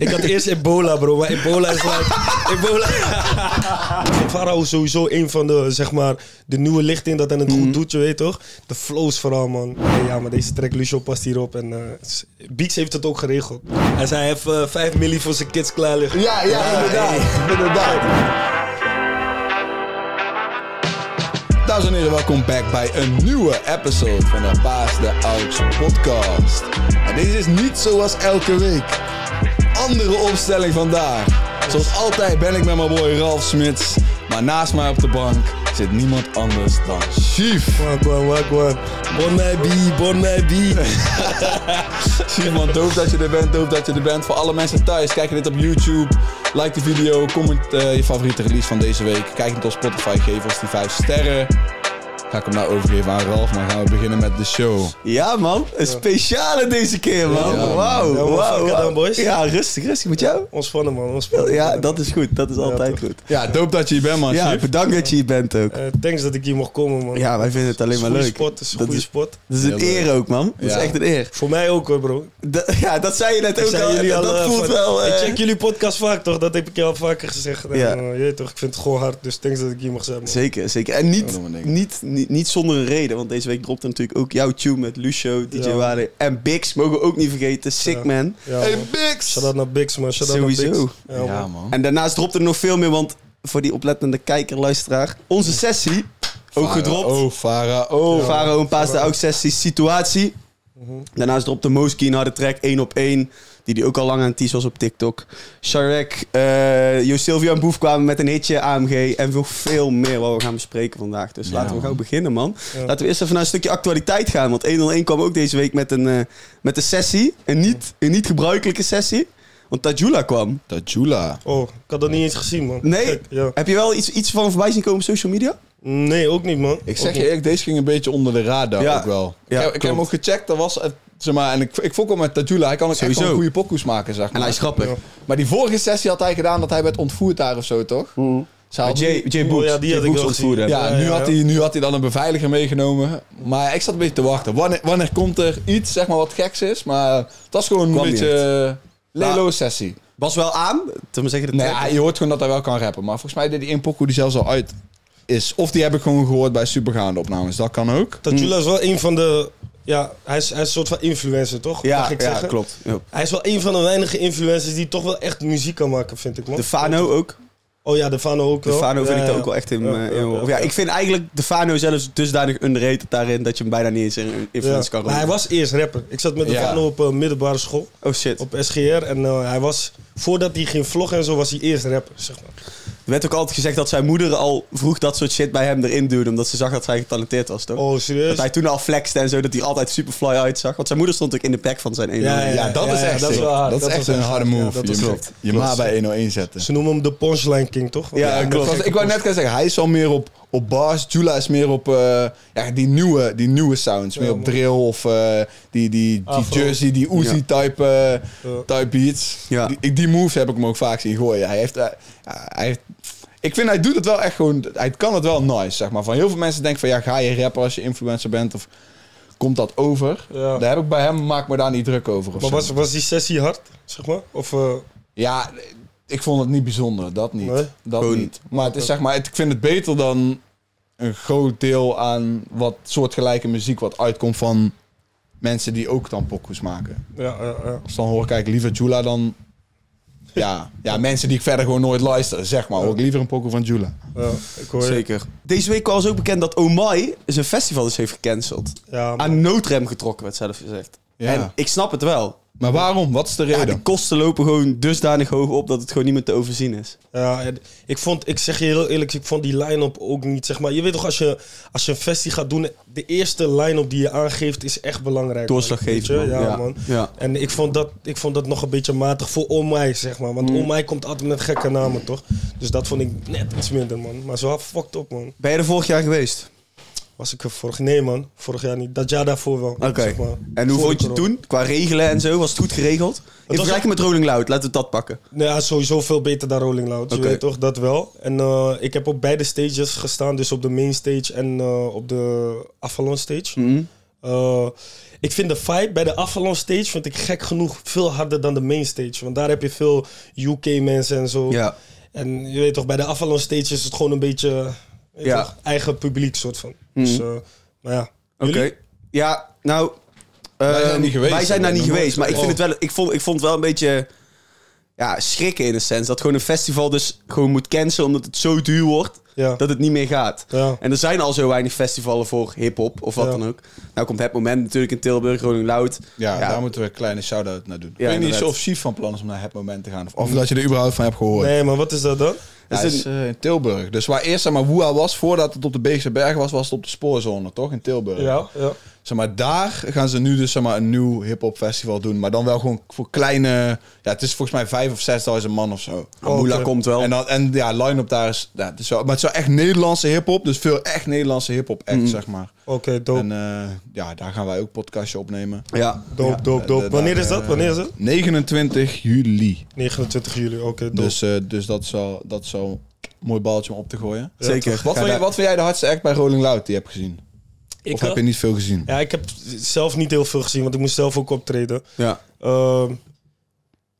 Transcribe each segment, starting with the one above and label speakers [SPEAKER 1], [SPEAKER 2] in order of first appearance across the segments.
[SPEAKER 1] Ik had eerst ebola, bro. Maar ebola is like... ebola... Farao is sowieso een van de, zeg maar... De nieuwe lichting dat hij het goed doet, je weet toch? De flows vooral, man. Hey, ja, maar deze track, Lucio, past hierop. En eh, Beats heeft het ook geregeld. Hij zei, hij heeft eh, 5 milli voor zijn kids klaar liggen.
[SPEAKER 2] Ja, ja, inderdaad. inderdaad. Dames en heren, welkom back bij een nieuwe episode van de Paas de Ouds podcast. En deze is niet zoals elke week. Andere opstelling vandaag. Zoals altijd ben ik met mijn boy Ralf Smits. Maar naast mij op de bank zit niemand anders dan Chief.
[SPEAKER 1] Wagwan, wagwan. Bon B, bon B.
[SPEAKER 2] Chief, man, doof dat je er bent, doof dat je er bent. Voor alle mensen thuis, kijk je dit op YouTube. Like de video, comment eh, je favoriete release van deze week. Kijk het op Spotify, geef ons die 5 sterren. Ga ik hem nou overgeven aan Ralf, maar gaan we beginnen met de show.
[SPEAKER 3] Ja, man. Een speciale deze keer, man.
[SPEAKER 2] Ja, man.
[SPEAKER 3] Wauw,
[SPEAKER 1] Ja, man,
[SPEAKER 3] wauw.
[SPEAKER 1] fuck it
[SPEAKER 3] wauw.
[SPEAKER 1] dan, boys.
[SPEAKER 3] Ja, rustig, rustig met jou.
[SPEAKER 1] Ontspannen, man. Ontspannen.
[SPEAKER 3] Ja, dat is goed. Dat is altijd
[SPEAKER 1] toch.
[SPEAKER 3] goed.
[SPEAKER 2] Ja, doop dat je hier bent, man.
[SPEAKER 3] Ja,
[SPEAKER 2] Chief.
[SPEAKER 3] bedankt dat je hier bent ook.
[SPEAKER 1] Eh, thanks dat ik hier mocht komen, man.
[SPEAKER 3] Ja, wij vinden het alleen maar
[SPEAKER 1] Goeie
[SPEAKER 3] leuk.
[SPEAKER 1] spot, is een
[SPEAKER 3] Dat
[SPEAKER 1] goede
[SPEAKER 3] is,
[SPEAKER 1] spot.
[SPEAKER 3] dat is een
[SPEAKER 2] Heel leuk.
[SPEAKER 3] eer ook, man. Dat
[SPEAKER 2] Ja.
[SPEAKER 3] is echt een eer.
[SPEAKER 1] Voor mij ook, hoor, bro.
[SPEAKER 3] Dat- ja, dat zei je net ook
[SPEAKER 1] Zijn
[SPEAKER 3] al.
[SPEAKER 1] jullie
[SPEAKER 3] en dat
[SPEAKER 1] al, eh,
[SPEAKER 3] voelt
[SPEAKER 1] van-
[SPEAKER 3] wel... eh,
[SPEAKER 1] Ik check jullie podcast vaak, toch? Dat heb ik je al vaker gezegd. En,
[SPEAKER 3] Ja.
[SPEAKER 1] eh, jeet toch, ik vind het gewoon hard, dus thanks dat ik hier mag zijn. man.
[SPEAKER 3] Zeker, zeker. En
[SPEAKER 2] Ja,
[SPEAKER 3] niet,
[SPEAKER 2] doe maar niks.
[SPEAKER 3] niet, niet, niet zonder een reden, want deze week dropte natuurlijk ook jouw tune met Lucio, DJ
[SPEAKER 1] Ja.
[SPEAKER 3] Ware en Bix. Mogen we ook niet vergeten, Sick
[SPEAKER 1] Ja.
[SPEAKER 3] Man.
[SPEAKER 1] Ja,
[SPEAKER 2] Hey,
[SPEAKER 1] man.
[SPEAKER 2] Bix!
[SPEAKER 1] Shout-out naar Bix, man. Shout-out naar Bix.
[SPEAKER 3] Sowieso.
[SPEAKER 1] Ja, man.
[SPEAKER 2] Ja, man.
[SPEAKER 3] Oh. En daarnaast dropte er nog veel meer, want voor die oplettende kijker, luisteraar, onze sessie, ook gedropt.
[SPEAKER 2] Oh, Farao.
[SPEAKER 1] Ja.
[SPEAKER 3] Faro een paas de
[SPEAKER 1] Farao. Mhm.
[SPEAKER 3] oud sessie situatie. Daarnaast dropte Moski een harde track, 1 op 1. Die die ook al lang aan het teasen was op TikTok. Sharek, eh Jo Silvio en Boef kwamen met een hitje, AMG. En nog veel meer wat we gaan bespreken vandaag. Dus
[SPEAKER 2] Ja,
[SPEAKER 3] laten we
[SPEAKER 2] man.
[SPEAKER 3] gauw beginnen, man.
[SPEAKER 1] Ja.
[SPEAKER 3] Laten we eerst even naar een stukje actualiteit gaan. Want 101 kwam ook deze week met een, eh, met een sessie. Een niet, een niet gebruikelijke sessie. Want Tajula kwam.
[SPEAKER 2] Tajula.
[SPEAKER 1] Oh, ik had dat niet eens gezien, man.
[SPEAKER 3] Nee,
[SPEAKER 1] Kijk, ja.
[SPEAKER 3] heb je wel iets, iets van voorbij zien komen op social media?
[SPEAKER 1] Nee, ook niet, man.
[SPEAKER 2] Ik
[SPEAKER 1] Ook
[SPEAKER 2] zeg je
[SPEAKER 1] niet.
[SPEAKER 2] eerlijk, deze ging een beetje onder de radar
[SPEAKER 3] Ja.
[SPEAKER 2] ook wel.
[SPEAKER 3] Ja,
[SPEAKER 2] ik, heb, ik heb
[SPEAKER 3] klopt.
[SPEAKER 2] hem ook gecheckt, dat was... eh, Zeg maar, en ik, ik vond hem met Tajula, hij kan ook echt
[SPEAKER 3] Sowieso.
[SPEAKER 2] wel goede pokoes maken, zeg maar.
[SPEAKER 3] En hij is grappig.
[SPEAKER 1] Ja.
[SPEAKER 2] Maar die vorige sessie had hij gedaan dat hij werd ontvoerd daar of zo, toch? Ze
[SPEAKER 3] Met
[SPEAKER 2] hadden-
[SPEAKER 3] Jay, Jay
[SPEAKER 1] Oh,
[SPEAKER 3] Books.
[SPEAKER 1] ja, die
[SPEAKER 3] Jay
[SPEAKER 1] had ik
[SPEAKER 3] Books
[SPEAKER 1] wel
[SPEAKER 3] ontvoerde
[SPEAKER 1] gezien.
[SPEAKER 3] hem.
[SPEAKER 2] Ja,
[SPEAKER 1] Mhm. Ja,
[SPEAKER 2] nu,
[SPEAKER 1] ja,
[SPEAKER 2] Had
[SPEAKER 1] ja.
[SPEAKER 2] hij, nu had hij dan een beveiliger meegenomen. Maar ik zat een beetje te wachten. Wanneer, wanneer komt er iets zeg maar, wat geks is? Maar het was gewoon
[SPEAKER 3] Kwam
[SPEAKER 2] een
[SPEAKER 3] niet.
[SPEAKER 2] beetje eh, lelo sessie.
[SPEAKER 3] Was wel aan, te maar zeggen de
[SPEAKER 2] Nee,
[SPEAKER 3] track.
[SPEAKER 2] ja, je hoort gewoon dat hij wel kan rappen. Maar volgens mij deed hij één pokoe die zelfs al uit is. Of die heb ik gewoon gehoord bij supergaande opnames. Dat kan ook.
[SPEAKER 3] Mm.
[SPEAKER 1] Tajula is wel een van de... Ja, hij is, hij is een soort van influencer, toch?
[SPEAKER 3] Ja,
[SPEAKER 1] Mag ik
[SPEAKER 3] ja,
[SPEAKER 1] zeggen?
[SPEAKER 3] klopt. Ja.
[SPEAKER 1] Hij is wel een van de weinige influencers die toch wel echt muziek kan maken, vind ik, man.
[SPEAKER 3] De Fano ook.
[SPEAKER 1] Oh ja, de Fano ook
[SPEAKER 3] De
[SPEAKER 1] wel.
[SPEAKER 3] Fano vind
[SPEAKER 1] Ja,
[SPEAKER 3] ik daar
[SPEAKER 1] ja.
[SPEAKER 3] ook wel echt in.
[SPEAKER 1] Ja,
[SPEAKER 3] eh,
[SPEAKER 1] ja,
[SPEAKER 3] in-
[SPEAKER 1] ja,
[SPEAKER 3] of ja,
[SPEAKER 1] ja.
[SPEAKER 3] ik vind eigenlijk de Fano zelfs dusdanig underrated daarin dat je hem bijna niet eens een influence kan
[SPEAKER 1] Maar hij
[SPEAKER 3] noemen.
[SPEAKER 1] was eerst rapper. Ik zat met de
[SPEAKER 2] Ja.
[SPEAKER 1] Fano op eh, middelbare school.
[SPEAKER 3] Oh shit.
[SPEAKER 1] op SGR. En eh, hij was, voordat hij ging vloggen en zo, was hij eerst rapper, zeg maar.
[SPEAKER 3] Er werd ook altijd gezegd dat zijn moeder al vroeg dat soort shit bij hem erin duwde. Omdat ze zag dat hij getalenteerd was, toch?
[SPEAKER 1] Oh,
[SPEAKER 3] Dat
[SPEAKER 1] serieus?
[SPEAKER 3] hij toen al flexte en zo, dat hij altijd super fly uitzag. Want zijn moeder stond ook in de pack van zijn ene.
[SPEAKER 1] Ja,
[SPEAKER 2] Ja, dat
[SPEAKER 1] ja,
[SPEAKER 2] is
[SPEAKER 1] ja,
[SPEAKER 2] echt
[SPEAKER 1] dat is
[SPEAKER 2] sick.
[SPEAKER 1] wel hard.
[SPEAKER 2] Dat is
[SPEAKER 1] Dat
[SPEAKER 2] echt
[SPEAKER 1] was
[SPEAKER 2] een
[SPEAKER 1] echt
[SPEAKER 2] harde
[SPEAKER 1] hard. Ja,
[SPEAKER 2] move.
[SPEAKER 1] dat
[SPEAKER 2] je
[SPEAKER 1] is
[SPEAKER 2] moet
[SPEAKER 1] klopt.
[SPEAKER 2] je ma bij 101 zetten.
[SPEAKER 1] Ze noemen hem de punchline king, toch? Want hij
[SPEAKER 2] Ja,
[SPEAKER 1] heeft
[SPEAKER 2] klopt.
[SPEAKER 1] een
[SPEAKER 2] ik wou net
[SPEAKER 1] gekke
[SPEAKER 2] gaan zeggen, hij is al meer op, op bars. Jula is meer op eh, ja, die, nieuwe, die nieuwe sounds. meer
[SPEAKER 1] Ja,
[SPEAKER 2] op
[SPEAKER 1] man.
[SPEAKER 2] drill of eh, die, die, die
[SPEAKER 1] Afro.
[SPEAKER 2] Jersey, die Uzi type, eh,
[SPEAKER 1] Ja.
[SPEAKER 2] type beats.
[SPEAKER 3] Ja.
[SPEAKER 2] Die, die moves heb ik hem ook vaak zien gooien. Hij heeft, eh, ja, hij heeft, ik vind hij doet het wel echt gewoon... Hij kan het wel nice, zeg maar. Van heel veel mensen denken van ja, ga je rappen als je influencer bent of... Komt dat over?
[SPEAKER 1] Ja.
[SPEAKER 2] Daar heb ik bij hem, maak me daar niet druk over. Of
[SPEAKER 1] Maar
[SPEAKER 2] zo.
[SPEAKER 1] was, was die sessie hard, zeg maar? Of, eh,
[SPEAKER 2] Ja, ik vond het niet bijzonder. Dat niet.
[SPEAKER 1] Nee?
[SPEAKER 2] Dat
[SPEAKER 3] Gewoon
[SPEAKER 2] niet. Maar het is zeg maar, het- ik vind het beter dan een groot deel aan wat soortgelijke muziek wat uitkomt van mensen die ook dan pokoes maken.
[SPEAKER 1] ja, ja, ja.
[SPEAKER 2] Dus dan hoor ik eigenlijk liever Jula dan... Ja, ja, mensen die ik verder gewoon nooit luister, zeg maar. Hoor ik liever een pokoe van Jula.
[SPEAKER 1] ja, ik hoor je.
[SPEAKER 3] Zeker. Deze week was ook bekend dat Omai zijn festival dus heeft gecanceld.
[SPEAKER 1] Ja, maar-
[SPEAKER 3] Aan noodrem getrokken, werd zelf gezegd.
[SPEAKER 2] Ja.
[SPEAKER 3] En ik snap het wel.
[SPEAKER 2] Maar waarom? Wat is de
[SPEAKER 3] Ja,
[SPEAKER 2] reden?
[SPEAKER 3] de kosten lopen gewoon dusdanig hoog op dat het gewoon niet meer te overzien is.
[SPEAKER 1] Ja, en ik vond, ik zeg je heel eerlijk, ik vond die line-up ook niet, zeg maar. Je weet toch, als je, als je een festie gaat doen, de eerste line-up die je aangeeft is echt belangrijk. man.
[SPEAKER 3] Doorslaggevend,
[SPEAKER 1] Weet je? Ja,
[SPEAKER 3] man. Ja.
[SPEAKER 1] man.
[SPEAKER 3] Ja.
[SPEAKER 1] En ik vond, dat, ik vond dat nog een beetje matig voor Omai, zeg maar.
[SPEAKER 3] Mm.
[SPEAKER 1] Want Omai komt altijd met gekke namen, toch? Dus dat vond ik net iets minder, man. Maar zo fucked op, man.
[SPEAKER 3] Ben je er vorig jaar geweest?
[SPEAKER 1] Was ik er vorig... Nee, man. Vorig jaar niet. Dat jaar daarvoor wel.
[SPEAKER 3] Oké.
[SPEAKER 1] zeg maar.
[SPEAKER 3] En hoe
[SPEAKER 1] Voor
[SPEAKER 3] vond
[SPEAKER 1] de
[SPEAKER 3] je het
[SPEAKER 1] corona.
[SPEAKER 3] toen? Qua regelen en zo, was het goed geregeld? In
[SPEAKER 1] was
[SPEAKER 3] vergelijking met Rolling Loud, laten we dat pakken.
[SPEAKER 1] Nou ja, sowieso veel beter dan Rolling Loud.
[SPEAKER 3] Oké.
[SPEAKER 1] Je weet toch, dat wel. En eh, ik
[SPEAKER 3] Mhm.
[SPEAKER 1] heb op beide stages gestaan. Dus op de main stage en eh, op de Avalon stage. Eh, ik vind de vibe bij de Avalon stage, vind ik gek genoeg, veel harder dan de main stage. Want daar heb je veel UK mensen en zo.
[SPEAKER 2] Ja.
[SPEAKER 1] En je weet toch, bij de Avalon stage is het gewoon een beetje weet
[SPEAKER 3] Ja. Mhm.
[SPEAKER 1] toch, eigen publiek soort van. Dus, eh, maar ja.
[SPEAKER 3] Oké.
[SPEAKER 1] Jullie?
[SPEAKER 3] Ja, nou...
[SPEAKER 2] Wij zijn
[SPEAKER 3] ehm,
[SPEAKER 2] niet geweest,
[SPEAKER 3] Wij zijn daar
[SPEAKER 2] hè?
[SPEAKER 3] niet
[SPEAKER 2] Nog
[SPEAKER 3] geweest. Maar ik, vind
[SPEAKER 1] Oh.
[SPEAKER 3] het wel, ik, vond, ik vond het wel een beetje ja, schrikken in de sens. Dat gewoon een festival dus gewoon moet cancelen omdat het zo duur wordt.
[SPEAKER 1] Ja.
[SPEAKER 3] Dat het niet meer gaat.
[SPEAKER 1] Ja.
[SPEAKER 3] En er zijn al zo weinig festivalen voor hip-hop of wat
[SPEAKER 1] Ja.
[SPEAKER 3] dan ook. Nou komt het moment natuurlijk in Tilburg, Groningen Loud.
[SPEAKER 2] Ja,
[SPEAKER 3] Ja.
[SPEAKER 2] daar moeten we een kleine shout-out naar doen. ik weet niet
[SPEAKER 3] inderdaad.
[SPEAKER 2] eens of Chief van plan is om naar het moment te gaan. Of, of dat je er überhaupt van hebt gehoord.
[SPEAKER 1] Nee, maar wat is dat dan?
[SPEAKER 2] Hij
[SPEAKER 3] Is
[SPEAKER 2] is eh, in Tilburg. Dus waar eerst zeg maar Woeha was, voordat het op de Beekse Berg was, was het op de Spoorzone, toch? In Tilburg.
[SPEAKER 1] Ja, ja.
[SPEAKER 2] Zeg maar, daar gaan ze nu dus zeg maar, een nieuw hip-hop festival doen. Maar dan wel gewoon voor kleine. Ja, het is volgens mij vijf of zesduizend man of zo.
[SPEAKER 1] Oh,
[SPEAKER 3] Moela
[SPEAKER 1] oké.
[SPEAKER 3] komt wel.
[SPEAKER 2] En, dan, en ja, line-up daar is. Ja, het is wel, maar het is wel echt Nederlandse hip-hop. Dus veel echt Nederlandse hip-hop, echt zeg maar.
[SPEAKER 1] Oké, dope.
[SPEAKER 2] En eh, ja, daar gaan wij ook podcastje opnemen.
[SPEAKER 3] ja.
[SPEAKER 1] Doop, doop, doop.
[SPEAKER 2] Eh,
[SPEAKER 1] Wanneer is
[SPEAKER 2] daar,
[SPEAKER 1] dat? Wanneer is dat?
[SPEAKER 2] eh, 29 juli.
[SPEAKER 1] 29 juli, oké, doop.
[SPEAKER 2] Dus, eh, dus dat is wel dat is wel een mooi balletje om op te gooien.
[SPEAKER 3] Zeker.
[SPEAKER 2] Wat
[SPEAKER 3] Ga
[SPEAKER 2] vind, jij,
[SPEAKER 3] daar-
[SPEAKER 2] wat vind jij de hardste act bij Rolling Loud die je hebt gezien?
[SPEAKER 1] ik,
[SPEAKER 2] Of heb je niet veel gezien?
[SPEAKER 1] ja, ik heb zelf niet heel veel gezien, want ik moest zelf ook optreden.
[SPEAKER 3] Ja.
[SPEAKER 1] Ehm,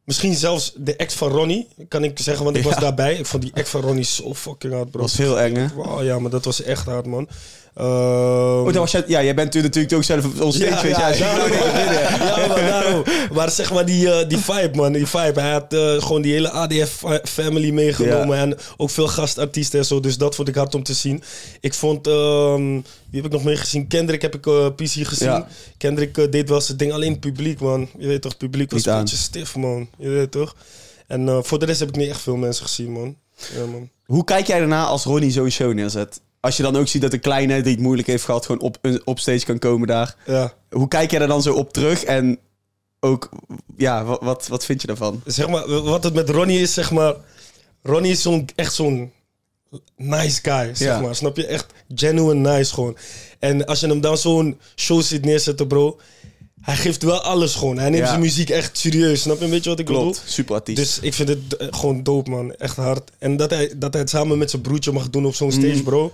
[SPEAKER 1] misschien zelfs de act van Ronnie, kan ik zeggen, want ik was daarbij. Ik vond die act van Ronnie zo fucking hard,
[SPEAKER 3] Dat
[SPEAKER 1] bro.
[SPEAKER 3] was heel eng, hè?
[SPEAKER 1] Wauw, ja, maar dat was echt hard, man. Ehm,
[SPEAKER 3] Oh, dat was jij, ja, jij bent toen natuurlijk ook zelf op ons stage,
[SPEAKER 1] Ja,
[SPEAKER 3] weet je.
[SPEAKER 1] ja,
[SPEAKER 3] Ja, zie je nou
[SPEAKER 1] daarom.
[SPEAKER 3] niet binnen.
[SPEAKER 1] Ja, maar daarom. Maar zeg maar die, eh, die vibe, man. Die vibe. Hij had eh, gewoon die hele ADF-family meegenomen. En ook veel gastartiesten en zo. Dus dat vond ik hard om te zien. Ik vond... ehm, wie heb ik nog meer gezien? Kendrick heb ik eh, PC gezien.
[SPEAKER 3] Ja.
[SPEAKER 1] Kendrick eh, deed wel zijn ding. Alleen het publiek, man. Je weet toch, het publiek was
[SPEAKER 3] Niet
[SPEAKER 1] een
[SPEAKER 3] aan.
[SPEAKER 1] beetje stif, man. Je weet toch? En eh, voor de rest heb ik niet echt veel mensen gezien, man. Ja, man.
[SPEAKER 3] Hoe kijk jij daarna als Ronnie zo'n show neerzet? Als je dan ook ziet dat de kleine die het moeilijk heeft gehad, gewoon op, op stage kan komen daar.
[SPEAKER 1] Ja.
[SPEAKER 3] Hoe kijk jij daar dan zo op terug? En ook, ja, wat, wat, wat vind je daarvan?
[SPEAKER 1] zeg maar, wat het met Ronnie is, zeg maar. Ronnie is zo'n, echt zo'n nice guy, zeg
[SPEAKER 3] Ja.
[SPEAKER 1] maar. Snap je? Echt genuine nice gewoon. En als je hem dan zo'n show ziet neerzetten, bro. Hij geeft wel alles gewoon. Hij neemt
[SPEAKER 3] Ja.
[SPEAKER 1] zijn muziek echt serieus. Snap je? Weet je wat ik bedoel?
[SPEAKER 3] Klopt, super artiest.
[SPEAKER 1] Dus ik vind het eh, gewoon dope, man. Echt hard. En dat hij, dat hij het samen met zijn broertje mag doen op zo'n
[SPEAKER 3] Mm.
[SPEAKER 1] stage, bro.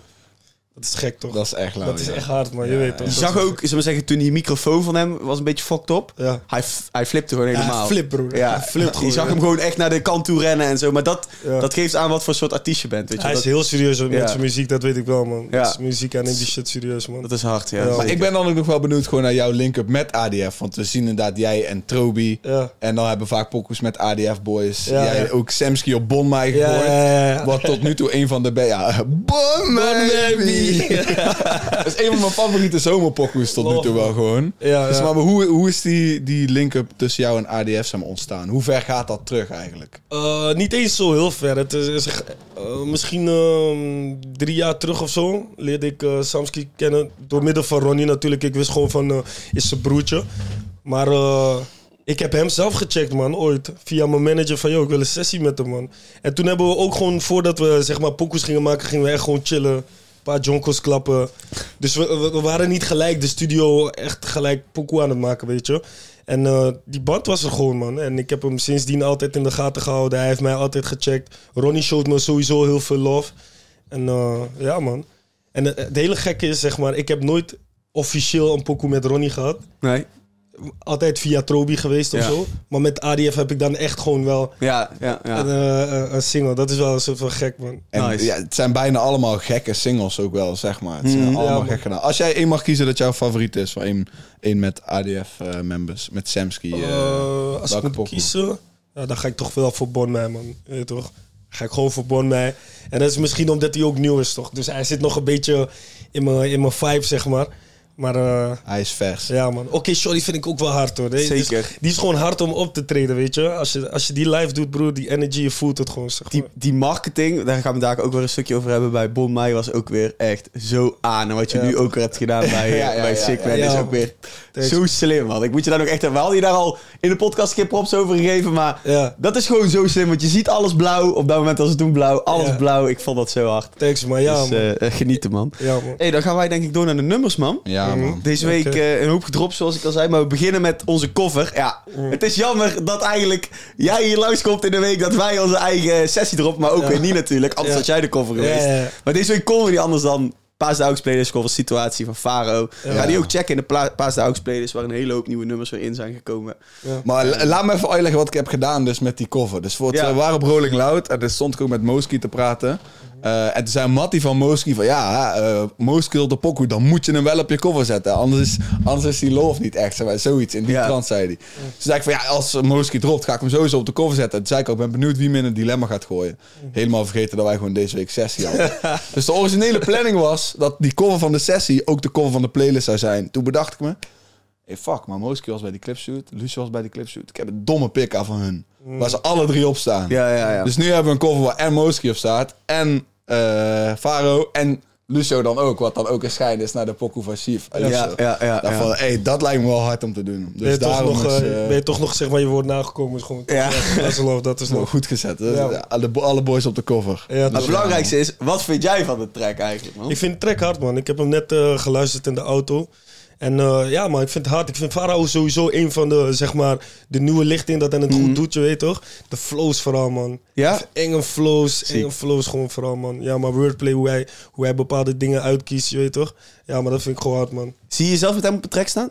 [SPEAKER 1] Dat is gek, toch?
[SPEAKER 2] Dat is echt lauw.
[SPEAKER 1] Dat is
[SPEAKER 2] ja.
[SPEAKER 1] echt hard, man. Je
[SPEAKER 2] Ja,
[SPEAKER 1] weet toch?
[SPEAKER 3] je
[SPEAKER 1] Dat
[SPEAKER 3] zag
[SPEAKER 1] is-
[SPEAKER 3] ook, zullen we zeggen, toen die microfoon van hem was een beetje fucked up.
[SPEAKER 1] Ja.
[SPEAKER 3] Hij, f- hij flipte gewoon
[SPEAKER 1] Ja,
[SPEAKER 3] helemaal.
[SPEAKER 1] hij flipt, broer.
[SPEAKER 3] Ja,
[SPEAKER 1] Hij flipt
[SPEAKER 3] Je
[SPEAKER 1] gewoon,
[SPEAKER 3] zag
[SPEAKER 1] ja.
[SPEAKER 3] hem gewoon echt naar de kant toe rennen en zo. Maar dat,
[SPEAKER 1] Ja.
[SPEAKER 3] dat geeft aan wat voor soort artiest je bent, weet je.
[SPEAKER 1] Hij is
[SPEAKER 3] dat,
[SPEAKER 1] heel serieus met
[SPEAKER 3] Ja.
[SPEAKER 1] zijn muziek, dat weet ik wel, man.
[SPEAKER 3] Ja.
[SPEAKER 1] Met zijn muziek, hij neemt die shit serieus, man.
[SPEAKER 3] dat is hard, ja.
[SPEAKER 1] Ja.
[SPEAKER 3] Zeker.
[SPEAKER 2] Maar ik ben dan ook nog wel benieuwd gewoon naar jouw link-up met ADF. Want we zien inderdaad jij en Trobi.
[SPEAKER 1] Ja.
[SPEAKER 2] En dan hebben we vaak pokus met ADF boys.
[SPEAKER 1] Ja,
[SPEAKER 2] jij
[SPEAKER 1] ja.
[SPEAKER 2] ook Samsky op Bon mij
[SPEAKER 1] Ja,
[SPEAKER 2] gehoord.
[SPEAKER 1] ja, ja, ja.
[SPEAKER 2] Wat tot nu toe een van de... be- Ja, Bon
[SPEAKER 3] Oh,
[SPEAKER 1] Oh,
[SPEAKER 2] Maybe. Dat is een van mijn favoriete zomerpokus tot nu toe wel gewoon.
[SPEAKER 1] Ja,
[SPEAKER 2] Dus
[SPEAKER 1] ja.
[SPEAKER 2] maar hoe, hoe is die, die link-up tussen jou en ADF zeg maar, ontstaan? Hoe ver gaat dat terug eigenlijk?
[SPEAKER 1] Eh, niet eens zo heel ver. Het is, is echt, eh, misschien ehm, drie jaar terug of zo leerde ik eh, Samski kennen. Door middel van Ronnie natuurlijk. Ik wist gewoon van, eh, is zijn broertje. Maar eh, ik heb hem zelf gecheckt, man, ooit. Via mijn manager van, joh, ik wil een sessie met hem, man. En toen hebben we ook gewoon, voordat we zeg maar pokoes gingen maken, gingen we echt gewoon chillen. Een paar jonkels klappen. Dus we, we- we waren niet gelijk de studio echt gelijk pokoe aan het maken, weet je. En eh, die band was er gewoon, man. En ik heb hem sindsdien altijd in de gaten gehouden. Hij heeft mij altijd gecheckt. Ronnie showt me sowieso heel veel love. En eh, ja, man. En eh, het hele gekke is, zeg maar, ik heb nooit officieel een pokoe met Ronnie gehad.
[SPEAKER 3] Nee?
[SPEAKER 1] Altijd via Trobi geweest of
[SPEAKER 3] Ja.
[SPEAKER 1] zo. Maar met ADF heb ik dan echt gewoon wel
[SPEAKER 3] Ja, ja,
[SPEAKER 1] een,
[SPEAKER 3] ja.
[SPEAKER 1] eh, een- een single. Dat is wel een soort van gek, man.
[SPEAKER 2] En
[SPEAKER 3] Nice.
[SPEAKER 2] ja, het zijn bijna allemaal gekke singles ook wel, zeg maar. Het zijn allemaal
[SPEAKER 1] man.
[SPEAKER 2] gekke namen. Als jij één mag kiezen dat jouw favoriet is, van één, één met ADF-members, eh, met Samsky. eh,
[SPEAKER 1] Eh, als ik
[SPEAKER 2] welke
[SPEAKER 1] moet
[SPEAKER 2] pokoe?
[SPEAKER 1] kiezen, ja, dan ga ik toch wel voor Bon Mij, man. Je Weet toch? Ga ik gewoon voor Bon Mij. En dat is misschien omdat hij ook nieuw is, toch? Dus hij zit nog een beetje in mijn, in mijn vibe, zeg maar. Maar eh,
[SPEAKER 2] Hij is vers.
[SPEAKER 1] ja, man. Oké, sorry vind ik ook wel hard, hoor. Nee, dus
[SPEAKER 3] Zeker.
[SPEAKER 1] die is gewoon hard om op te treden, weet je? Als je, als je die live doet, broer, die energy, je voelt het gewoon, zeg maar.
[SPEAKER 3] Die, die marketing, daar gaan we daar ook weer een stukje over hebben. Bij Bon Mai was ook weer echt zo aan. En wat je nu ook weer hebt gedaan bij, eh,
[SPEAKER 2] Ja, ja,
[SPEAKER 3] bij
[SPEAKER 2] ja,
[SPEAKER 3] Sick
[SPEAKER 2] ja,
[SPEAKER 3] Man
[SPEAKER 1] ja.
[SPEAKER 3] is ook weer
[SPEAKER 1] Thanks.
[SPEAKER 3] zo slim, man. Ik moet je daar nog echt... We hadden je daar al in de podcast geen props over gegeven, maar
[SPEAKER 1] Ja.
[SPEAKER 3] dat is gewoon zo slim. Want je ziet alles blauw. Op dat moment was het toen blauw. Alles
[SPEAKER 1] Ja.
[SPEAKER 3] blauw. Ik vond dat zo hard.
[SPEAKER 1] Thanks, man. Ja,
[SPEAKER 3] dus
[SPEAKER 1] man.
[SPEAKER 3] eh, eh, genieten, man.
[SPEAKER 1] Ja, man.
[SPEAKER 3] hey, dan gaan wij denk ik door naar de nummers, man.
[SPEAKER 2] Ja, man.
[SPEAKER 3] Deze week
[SPEAKER 1] Oké.
[SPEAKER 3] eh, een hoop gedropt, zoals ik al zei. Maar we beginnen met onze cover. Ja, het is jammer dat eigenlijk jij hier langskomt in de week dat wij onze eigen sessie droppen. Maar ook
[SPEAKER 1] Ja.
[SPEAKER 3] weer niet natuurlijk. Anders
[SPEAKER 1] Ja.
[SPEAKER 3] had jij de cover
[SPEAKER 1] Ja,
[SPEAKER 3] geweest.
[SPEAKER 1] ja, ja.
[SPEAKER 3] Maar deze week konden we niet anders dan Paas de Aux Playlist cover situatie van Faro. Ga die ook checken in de pla- Paas de Aux Playlist, waar een hele hoop nieuwe nummers weer in zijn gekomen.
[SPEAKER 2] Maar la- laat me even uitleggen wat ik heb gedaan dus met die cover. Dus voor het,
[SPEAKER 3] Ja.
[SPEAKER 2] we waren op Rolling Loud en toen stond ik ook met Moski te praten. Eh, en toen zei Matty van Moski van ja, eh Moski wil de pokoe, dan moet je hem wel op je cover zetten. Anders is, anders is die love niet echt, zeg maar, zoiets. In die
[SPEAKER 3] Ja.
[SPEAKER 2] trant zei hij. Toen zei ik van ja, als Moski dropt ga ik hem sowieso op de cover zetten. Toen zei ik ook, ben benieuwd wie me in een dilemma gaat gooien. Helemaal vergeten dat wij gewoon deze week sessie hadden. dus de originele planning was dat die cover van de sessie ook de cover van de playlist zou zijn. Toen bedacht ik me, Hey, fuck, maar Moski was bij die clipsuit. Lucie was bij die clipsuit. Ik heb een domme pik aan van hun.
[SPEAKER 1] Mm.
[SPEAKER 2] Waar ze alle drie op staan.
[SPEAKER 3] Ja, ja, ja.
[SPEAKER 2] Dus nu hebben we een cover waar en Moski op staat. En eh Faro. En Lucio dan ook. Wat dan ook een schijn is naar de pokoe van Chief. en
[SPEAKER 3] Ja,
[SPEAKER 2] Lucio.
[SPEAKER 3] ja, ja,
[SPEAKER 2] Dan
[SPEAKER 3] ja.
[SPEAKER 2] Van, hey, dat lijkt me wel hard om te doen.
[SPEAKER 1] ben,
[SPEAKER 2] Dus
[SPEAKER 1] je toch
[SPEAKER 2] daarom
[SPEAKER 1] nog,
[SPEAKER 2] is,
[SPEAKER 1] eh,
[SPEAKER 2] eh,
[SPEAKER 1] ben je toch nog, zeg maar, je woord nagekomen. Is gewoon,
[SPEAKER 3] Ja.
[SPEAKER 1] ja. dat is love, dat is
[SPEAKER 2] wel
[SPEAKER 1] love.
[SPEAKER 2] goed gezet. Dat is-
[SPEAKER 1] Ja.
[SPEAKER 2] alle, alle boys op de cover.
[SPEAKER 1] Ja,
[SPEAKER 3] Maar
[SPEAKER 1] dus-
[SPEAKER 3] het belangrijkste is, wat vind jij van de track eigenlijk, man?
[SPEAKER 1] Ik vind de track hard, man. Ik heb hem net eh, geluisterd in de auto. En eh, ja, man, ik vind het hard. Ik vind Farao sowieso een van de, zeg maar, de nieuwe lichting dat hij het goed doet, je weet toch? De flows vooral, man.
[SPEAKER 3] Mhm. Ja?
[SPEAKER 1] Enge flows, enge flows gewoon vooral, man. Ja, maar wordplay, hoe hij, hoe hij bepaalde dingen uitkiest, je weet toch? Ja, maar dat vind ik gewoon hard, man.
[SPEAKER 3] Zie je jezelf met hem op de track staan?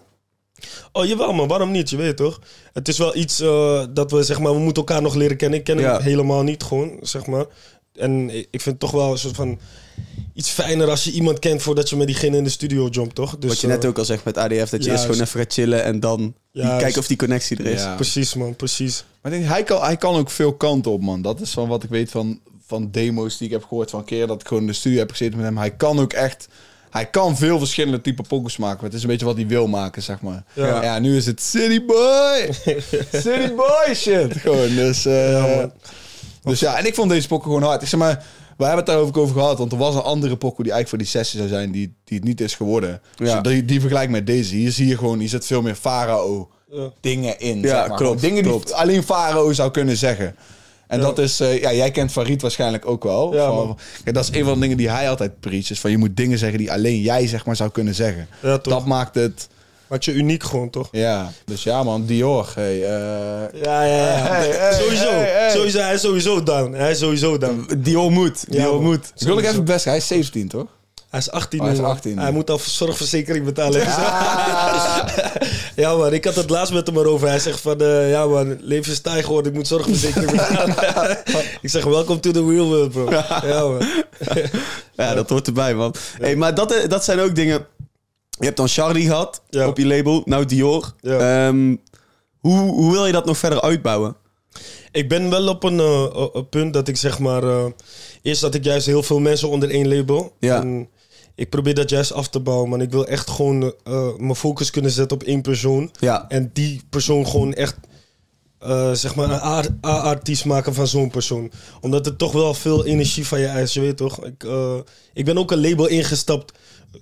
[SPEAKER 1] Oh, jawel, man. Waarom niet? Je weet toch? Het is wel iets eh, dat we, zeg maar, we moeten elkaar nog leren kennen. Ik ken
[SPEAKER 3] Ja.
[SPEAKER 1] hem helemaal niet, gewoon, zeg maar. En ik ik vind het toch wel een soort van iets fijner als je iemand kent voordat je met diegene in de studio jumpt, toch? Dus,
[SPEAKER 3] Wat je
[SPEAKER 1] eh,
[SPEAKER 3] net ook al zegt met ADF, dat je eerst
[SPEAKER 1] Juist.
[SPEAKER 3] gewoon even gaat chillen en dan die-
[SPEAKER 1] Juist.
[SPEAKER 3] kijken of die connectie er is.
[SPEAKER 2] Ja.
[SPEAKER 1] Precies, man. Precies.
[SPEAKER 2] Maar ik denk, hij, kan, hij kan ook veel kanten op, man. Dat is van wat ik weet van, van demo's die ik heb gehoord van keer dat ik gewoon in de studio heb gezeten met hem. Hij kan ook echt... Hij kan veel verschillende type pokus maken. Maar het is een beetje wat hij wil maken, zeg maar. Ja,
[SPEAKER 1] Ja.
[SPEAKER 2] nu is het City Boy! City Boy shit! Gewoon, dus... eh, dus ja, en ik vond deze pokken gewoon hard. Ik zeg maar, we hebben het daar ook over gehad. Want er was een andere pokken die eigenlijk voor die sessie zou zijn, die, die het niet is geworden.
[SPEAKER 3] Ja.
[SPEAKER 2] Dus die, die vergelijk met deze. Hier zie je gewoon, hier zit veel meer Farao
[SPEAKER 1] Ja.
[SPEAKER 2] dingen in.
[SPEAKER 3] Ja,
[SPEAKER 2] zeg maar.
[SPEAKER 3] klopt,
[SPEAKER 2] Gewoon Dingen
[SPEAKER 3] klopt.
[SPEAKER 2] die alleen Faro zou kunnen zeggen. En dat is, eh, ja, jij kent Farid waarschijnlijk ook wel.
[SPEAKER 1] Ja,
[SPEAKER 2] Van-
[SPEAKER 1] man.
[SPEAKER 2] kijk, dat is een van de dingen die hij altijd preacht. Is van je moet dingen zeggen die alleen jij zeg maar zou kunnen zeggen.
[SPEAKER 1] Ja, toch.
[SPEAKER 2] dat maakt het,
[SPEAKER 1] Maakt je uniek gewoon, toch?
[SPEAKER 2] ja. Dus ja man, Dior, hey. eh,
[SPEAKER 1] Ja, ja, ja.
[SPEAKER 2] Hey, hey,
[SPEAKER 1] sowieso.
[SPEAKER 2] hey, hey.
[SPEAKER 1] sowieso. Hij is sowieso down. Hij is sowieso down.
[SPEAKER 3] Dior moet,
[SPEAKER 1] Ja,
[SPEAKER 3] Dior
[SPEAKER 1] man.
[SPEAKER 3] moet.
[SPEAKER 2] ik wil ik even het best, hij is 17 toch?
[SPEAKER 1] Hij is 18
[SPEAKER 2] Oh, hij is
[SPEAKER 1] nu, man.
[SPEAKER 2] 18 nu.
[SPEAKER 1] Hij moet al zorgverzekering betalen. ja, man. Ik had het laatst met hem erover. Hij zegt van... eh, ja, man. Leven is taai geworden. Ik moet zorgverzekering betalen. ik zeg, welcome to the real world, bro. Ja, man.
[SPEAKER 3] Ja, dat hoort erbij, man. Hey, maar dat, eh, dat zijn ook dingen... Je hebt dan Charlie gehad
[SPEAKER 1] Ja.
[SPEAKER 3] op je label, nou Dior.
[SPEAKER 1] Ja.
[SPEAKER 3] Ehm, hoe, hoe wil je dat nog verder uitbouwen?
[SPEAKER 1] Ik ben wel op een eh, eh, eh, punt dat ik zeg maar. eh, eerst dat ik juist heel veel mensen onder één label.
[SPEAKER 3] Ja.
[SPEAKER 1] En ik probeer dat juist af te bouwen, man. Ik wil echt gewoon eh, mijn focus kunnen zetten op één persoon.
[SPEAKER 3] Ja.
[SPEAKER 1] En die persoon gewoon echt. eh, zeg maar een A- A-artiest maken van zo'n persoon. Omdat het toch wel veel energie van je eist, je weet toch? Ik, eh, ik ben ook een label ingestapt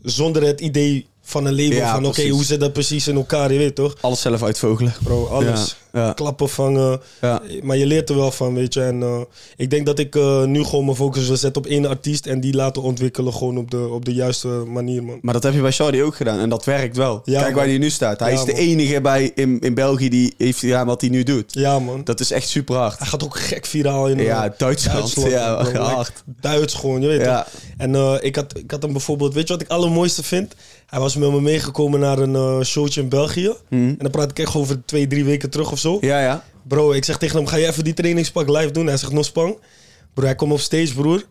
[SPEAKER 1] zonder het idee van een label.
[SPEAKER 3] Ja,
[SPEAKER 1] van oké,
[SPEAKER 3] precies.
[SPEAKER 1] hoe zit dat precies in elkaar, je weet toch?
[SPEAKER 3] Alles zelf uitvogelen.
[SPEAKER 1] Bro, alles.
[SPEAKER 3] Ja, ja.
[SPEAKER 1] Klappen vangen.
[SPEAKER 3] Ja.
[SPEAKER 1] Maar je leert er wel van, weet je. En eh, ik denk dat ik eh, nu gewoon mijn focus wil zetten op één artiest en die laten ontwikkelen gewoon op de, op de juiste manier, man.
[SPEAKER 3] Maar dat heb je bij Charlie ook gedaan en dat werkt wel.
[SPEAKER 1] Ja,
[SPEAKER 3] Kijk waar
[SPEAKER 1] man.
[SPEAKER 3] hij nu staat. Hij
[SPEAKER 1] Ja,
[SPEAKER 3] is de
[SPEAKER 1] man.
[SPEAKER 3] enige bij, in, in België die heeft gedaan wat hij nu doet.
[SPEAKER 1] Ja, man.
[SPEAKER 3] Dat is echt super hard.
[SPEAKER 1] Hij gaat ook gek viraal in eh,
[SPEAKER 3] Ja, Duitsland. Ja,
[SPEAKER 1] bro. Like,
[SPEAKER 3] hard.
[SPEAKER 1] Duits gewoon, je weet
[SPEAKER 3] Ja.
[SPEAKER 1] toch? En eh, ik, had, ik had hem bijvoorbeeld... Weet je wat ik allermooiste vind? Hij was met me meegekomen naar een eh, showtje in België. En dan praat ik echt over twee, drie weken terug of zo.
[SPEAKER 3] Hmm. Ja, ja.
[SPEAKER 1] Bro, ik zeg tegen hem, ga je even die trainingspak live doen? Hij zegt, no spang. Bro, hij komt op stage, broer.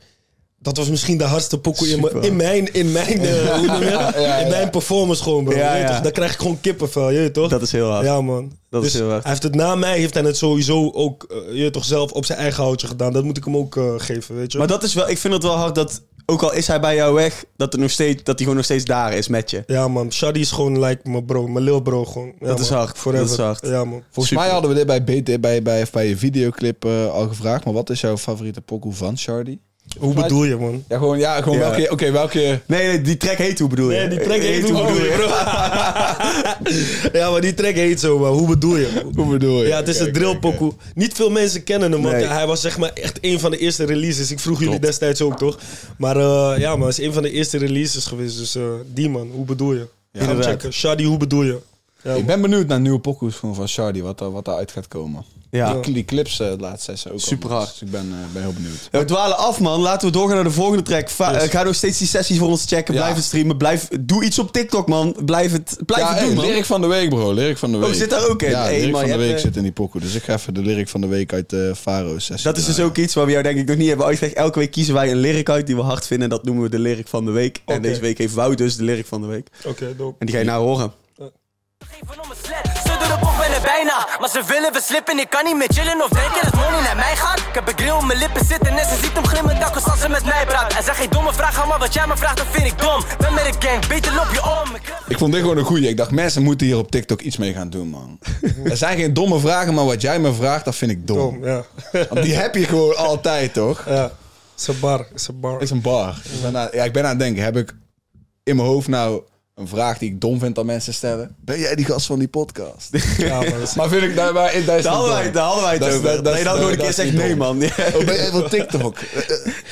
[SPEAKER 1] Dat was misschien de hardste pokoe in, mijn- in mijn, in mijn, eh, hoe noem je dat? in mijn performance gewoon, bro.
[SPEAKER 3] Ja,
[SPEAKER 1] Je weet
[SPEAKER 3] ja.
[SPEAKER 1] Toch? Daar krijg ik gewoon kippenvel, je weet toch?
[SPEAKER 3] Dat is heel hard.
[SPEAKER 1] Ja, man.
[SPEAKER 3] Dat is
[SPEAKER 1] dus
[SPEAKER 3] heel hard.
[SPEAKER 1] hij heeft het na mij, heeft hij het sowieso ook, eh, je weet toch, zelf op zijn eigen houtje gedaan. Dat moet ik hem ook eh, geven, weet je.
[SPEAKER 3] Maar dat is wel, ik vind het wel hard dat, ook al is hij bij jou weg, dat, er nog steeds, dat hij gewoon nog steeds daar is met je.
[SPEAKER 1] ja, man. Shadi is gewoon like mijn bro, mijn lil bro gewoon. Ja,
[SPEAKER 3] Dat is
[SPEAKER 1] man.
[SPEAKER 3] hard.
[SPEAKER 1] Forever.
[SPEAKER 3] Dat is hard.
[SPEAKER 1] Ja, man.
[SPEAKER 2] Volgens mij hadden we dit bij, BT, bij, bij, bij je videoclip eh, al gevraagd. Maar wat is jouw favoriete pokoe van Shardy?
[SPEAKER 1] Hoe bedoel je, man?
[SPEAKER 2] Ja, gewoon, ja, gewoon
[SPEAKER 3] Ja.
[SPEAKER 2] welke... Oké, welke...
[SPEAKER 3] Nee, nee, die track heet hoe bedoel je?
[SPEAKER 1] Nee, die track heet
[SPEAKER 3] Hoe Bedoel Je?
[SPEAKER 1] bro. ja, maar die track heet zo, maar hoe bedoel je?
[SPEAKER 2] Hoe bedoel je?
[SPEAKER 1] Ja, het is een
[SPEAKER 2] Oké, oké, oké.
[SPEAKER 1] drillpokoe. Niet veel mensen kennen hem, want
[SPEAKER 3] Nee.
[SPEAKER 1] hij was zeg maar echt een van de eerste releases. Ik vroeg jullie destijds ook, toch? Maar eh, ja, maar het is een van de eerste releases geweest. Dus eh, die man, hoe bedoel je? Ga hem
[SPEAKER 3] inderdaad.
[SPEAKER 1] checken. Shadi, hoe bedoel je? Ja,
[SPEAKER 2] Ik ben benieuwd naar nieuwe pokoes gewoon van Shardy, wat, er- wat eruit gaat komen.
[SPEAKER 3] Ja.
[SPEAKER 2] Die, die clips eh, de laatste tijd zijn ook al
[SPEAKER 3] Super
[SPEAKER 2] nice.
[SPEAKER 3] hard.
[SPEAKER 2] Dus ik ben, eh, ben heel benieuwd.
[SPEAKER 3] Ja, we dwalen af, man. Laten we doorgaan naar de volgende track. Va-
[SPEAKER 1] Yes.
[SPEAKER 3] eh, Ga nog steeds die sessies voor ons checken.
[SPEAKER 2] Ja.
[SPEAKER 3] Blijf het streamen. Blijf, doe iets op TikTok, man. Blijf het, blijf
[SPEAKER 2] Ja,
[SPEAKER 3] het doen,
[SPEAKER 2] hey,
[SPEAKER 3] man. Oh,
[SPEAKER 2] lyric van de week, bro. Lyric van de week.
[SPEAKER 3] zit daar ook in?
[SPEAKER 2] Ja,
[SPEAKER 3] Hey,
[SPEAKER 2] lyric
[SPEAKER 3] man,
[SPEAKER 2] van
[SPEAKER 3] je
[SPEAKER 2] de
[SPEAKER 3] hebt,
[SPEAKER 2] week
[SPEAKER 3] eh,
[SPEAKER 2] zit in die pokoe. Dus ik ga even de lyric van de week uit de Faro sessie.
[SPEAKER 3] Dat is dus
[SPEAKER 2] draaien.
[SPEAKER 3] ook iets waar we jou denk ik nog niet hebben uitgelegd. Elke week kiezen wij een lyric uit die we hard vinden. Dat noemen we de lyric van de week. En
[SPEAKER 1] Oké.
[SPEAKER 3] deze week heeft Wout dus de lyric van de week.
[SPEAKER 1] Oké, dope.
[SPEAKER 3] En die ga je nou horen.
[SPEAKER 4] Geven om een slet. Ze doen de pop en er bijna. Maar ze willen we slippen. Ik kan niet meer chillen of denken dat money naar mij gaat. Ik heb een grill op mijn lippen zitten en ze ziet hem glimmen. Dak als ze met mij praat. En zeg geen domme vraag aan, maar wat jij me vraagt, dat vind ik dom. Ben met een gang, beter loop je om. Ik heb-
[SPEAKER 2] Ik vond dit gewoon een goeie. Ik dacht, mensen moeten hier op TikTok iets mee gaan doen, man. er zijn geen domme vragen, maar wat jij me vraagt, dat vind ik dom.
[SPEAKER 1] Dom, ja.
[SPEAKER 2] Want die heb je gewoon altijd, toch?
[SPEAKER 1] ja. Is een bar, is een bar.
[SPEAKER 2] is een bar. Ik ben, aan, ja, ik ben aan het denken, heb ik in mijn hoofd nou een vraag die ik dom vind dat mensen stellen? Ben jij die gast van die podcast?
[SPEAKER 1] Ja, man, is-
[SPEAKER 2] maar vind ik, daar, maar, daar is
[SPEAKER 3] Daar hadden wij het, daar hadden wij het
[SPEAKER 2] Dat is-
[SPEAKER 3] over.
[SPEAKER 2] dat- dat
[SPEAKER 3] nee,
[SPEAKER 2] is-
[SPEAKER 3] dan gewoon een
[SPEAKER 2] dat
[SPEAKER 3] keer
[SPEAKER 2] is
[SPEAKER 3] zegt
[SPEAKER 2] niet
[SPEAKER 3] nee,
[SPEAKER 2] dom.
[SPEAKER 3] man. Ja.
[SPEAKER 2] Oh, ben jij van TikTok?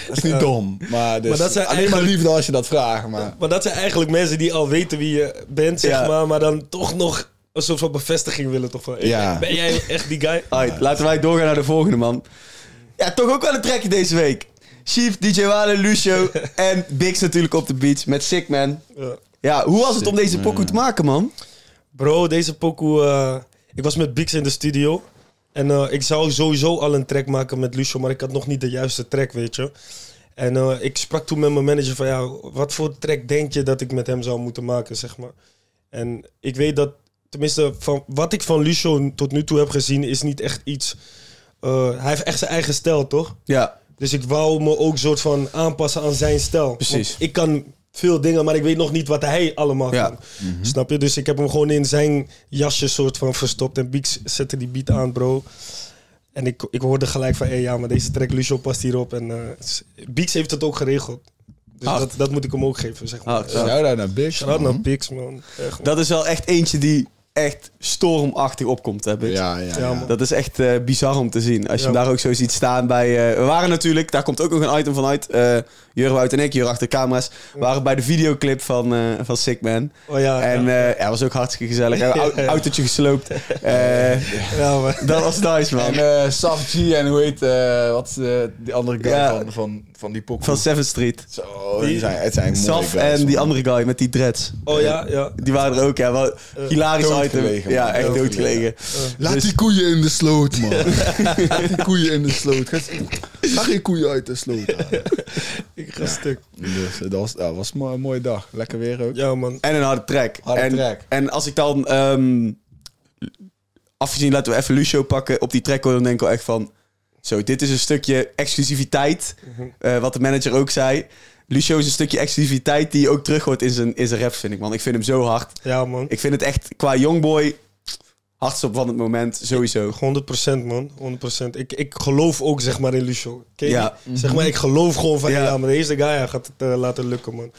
[SPEAKER 2] dat is niet dom. Maar, dus,
[SPEAKER 1] Maar dat zijn
[SPEAKER 2] alleen maar liefde als je dat vraagt. Maar.
[SPEAKER 1] Maar dat zijn eigenlijk mensen die al weten wie je bent, zeg
[SPEAKER 3] Ja.
[SPEAKER 1] maar, maar dan toch nog een soort van bevestiging willen toch wel.
[SPEAKER 2] Ja.
[SPEAKER 1] Ben jij echt die guy?
[SPEAKER 3] Alright, laten wij doorgaan naar de volgende, man. Ja, toch ook wel een trekje deze week. Chief, DJ Wale, Lucio en Bix natuurlijk op de beats met Sick Man.
[SPEAKER 1] Ja.
[SPEAKER 3] Ja, hoe was het om deze pokoe te maken, man?
[SPEAKER 1] Bro, deze pokoe... eh, ik was met Bix in de studio. En eh, ik zou sowieso al een track maken met Lucio, maar ik had nog niet de juiste track, weet je. En eh, ik sprak toen met mijn manager van, ja, wat voor track denk je dat ik met hem zou moeten maken, zeg maar. En ik weet dat, tenminste, van, wat ik van Lucio tot nu toe heb gezien, is niet echt iets... eh, hij heeft echt zijn eigen stijl, toch?
[SPEAKER 3] Ja,
[SPEAKER 1] Dus ik wou me ook soort van aanpassen aan zijn stijl.
[SPEAKER 3] Precies.
[SPEAKER 1] Want ik kan veel dingen, maar ik weet nog niet wat hij allemaal
[SPEAKER 3] Ja. Mhm.
[SPEAKER 1] kan. Snap je? Dus ik heb hem gewoon in zijn jasje soort van verstopt. En Beeks zette die beat aan, bro. En ik, ik hoorde gelijk van, hé ja, maar deze track Lucio past hierop. En eh Beeks heeft het ook geregeld. Dus
[SPEAKER 3] Hard.
[SPEAKER 1] dat, dat moet ik hem ook geven, zeg maar.
[SPEAKER 3] Hard,
[SPEAKER 1] Ja.
[SPEAKER 3] ja.
[SPEAKER 2] Shout out naar Bitch.
[SPEAKER 1] Shout-out
[SPEAKER 2] man.
[SPEAKER 3] Mhm.
[SPEAKER 1] naar Beeks, man. Echt, man.
[SPEAKER 3] Ah, dat is wel echt eentje die echt stormachtig opkomt, hè, Bix?
[SPEAKER 2] Ja, ja,
[SPEAKER 1] Ja,
[SPEAKER 2] ja.
[SPEAKER 1] man.
[SPEAKER 3] Dat is echt eh, bizar om te zien. Als je
[SPEAKER 1] Ja.
[SPEAKER 3] hem daar ook zo ziet staan bij... eh, we waren natuurlijk, daar komt ook nog een item van uit. eh Jurgen Wout en ik, hier achter de camera's, waren bij de videoclip van, eh van Sick Man.
[SPEAKER 1] Oh ja,
[SPEAKER 3] en
[SPEAKER 1] ja.
[SPEAKER 3] eh, ja, was ook hartstikke gezellig. Hebben we
[SPEAKER 1] Ja,
[SPEAKER 3] au-
[SPEAKER 1] ja.
[SPEAKER 3] autootje gesloopt. Eh,
[SPEAKER 1] Ja, man.
[SPEAKER 3] dat was nice, man.
[SPEAKER 2] En eh Saf G en hoe heet eh, wat is de die andere guy
[SPEAKER 3] Ja.
[SPEAKER 2] van, van, van die pokoe?
[SPEAKER 3] Van 7th Street.
[SPEAKER 2] Zo, die zijn, het zijn mooie
[SPEAKER 3] Saf
[SPEAKER 2] guys,
[SPEAKER 3] en
[SPEAKER 2] man.
[SPEAKER 3] die andere guy met die dreads.
[SPEAKER 1] Oh ja, ja.
[SPEAKER 3] Die waren er ook, ja. Wel,
[SPEAKER 1] Eh,
[SPEAKER 3] hilarisch item.
[SPEAKER 2] doodgelegen,
[SPEAKER 3] Ja,
[SPEAKER 2] man.
[SPEAKER 3] echt
[SPEAKER 2] Doodgelegen.
[SPEAKER 3] doodgelegen.
[SPEAKER 5] Laat
[SPEAKER 3] Dus-
[SPEAKER 5] die koeien in de sloot, man. Laat die koeien in de sloot. Ga ga geen koeien uit de sloot. halen.
[SPEAKER 1] Ik ga stuk.
[SPEAKER 2] Dus, eh, dat was, ja, was mo- een mooie dag. Lekker weer ook.
[SPEAKER 1] Ja, man.
[SPEAKER 3] En een harde track.
[SPEAKER 2] Harde
[SPEAKER 3] en,
[SPEAKER 2] track.
[SPEAKER 3] En als ik dan... ehm, afgezien, laten we even Lucio pakken. Op die track hoor, dan denk ik wel echt van... Zo, dit is een stukje exclusiviteit.
[SPEAKER 1] Mhm.
[SPEAKER 3] eh, wat de manager ook zei. Lucio is een stukje exclusiviteit die je ook terug hoort in zijn, in zijn raps, vind ik, man. Ik vind hem zo hard.
[SPEAKER 1] Ja, man.
[SPEAKER 3] Ik vind het echt, qua Youngboy... Hardstop van het moment, sowieso.
[SPEAKER 1] 100% man, 100%. Ik, ik geloof ook zeg maar in Lucio. Ken je
[SPEAKER 3] Ja.
[SPEAKER 1] die? Zeg maar, ik geloof gewoon van
[SPEAKER 3] Ja.
[SPEAKER 1] ja, maar deze guy hij gaat het eh, laten lukken man.
[SPEAKER 3] 100%.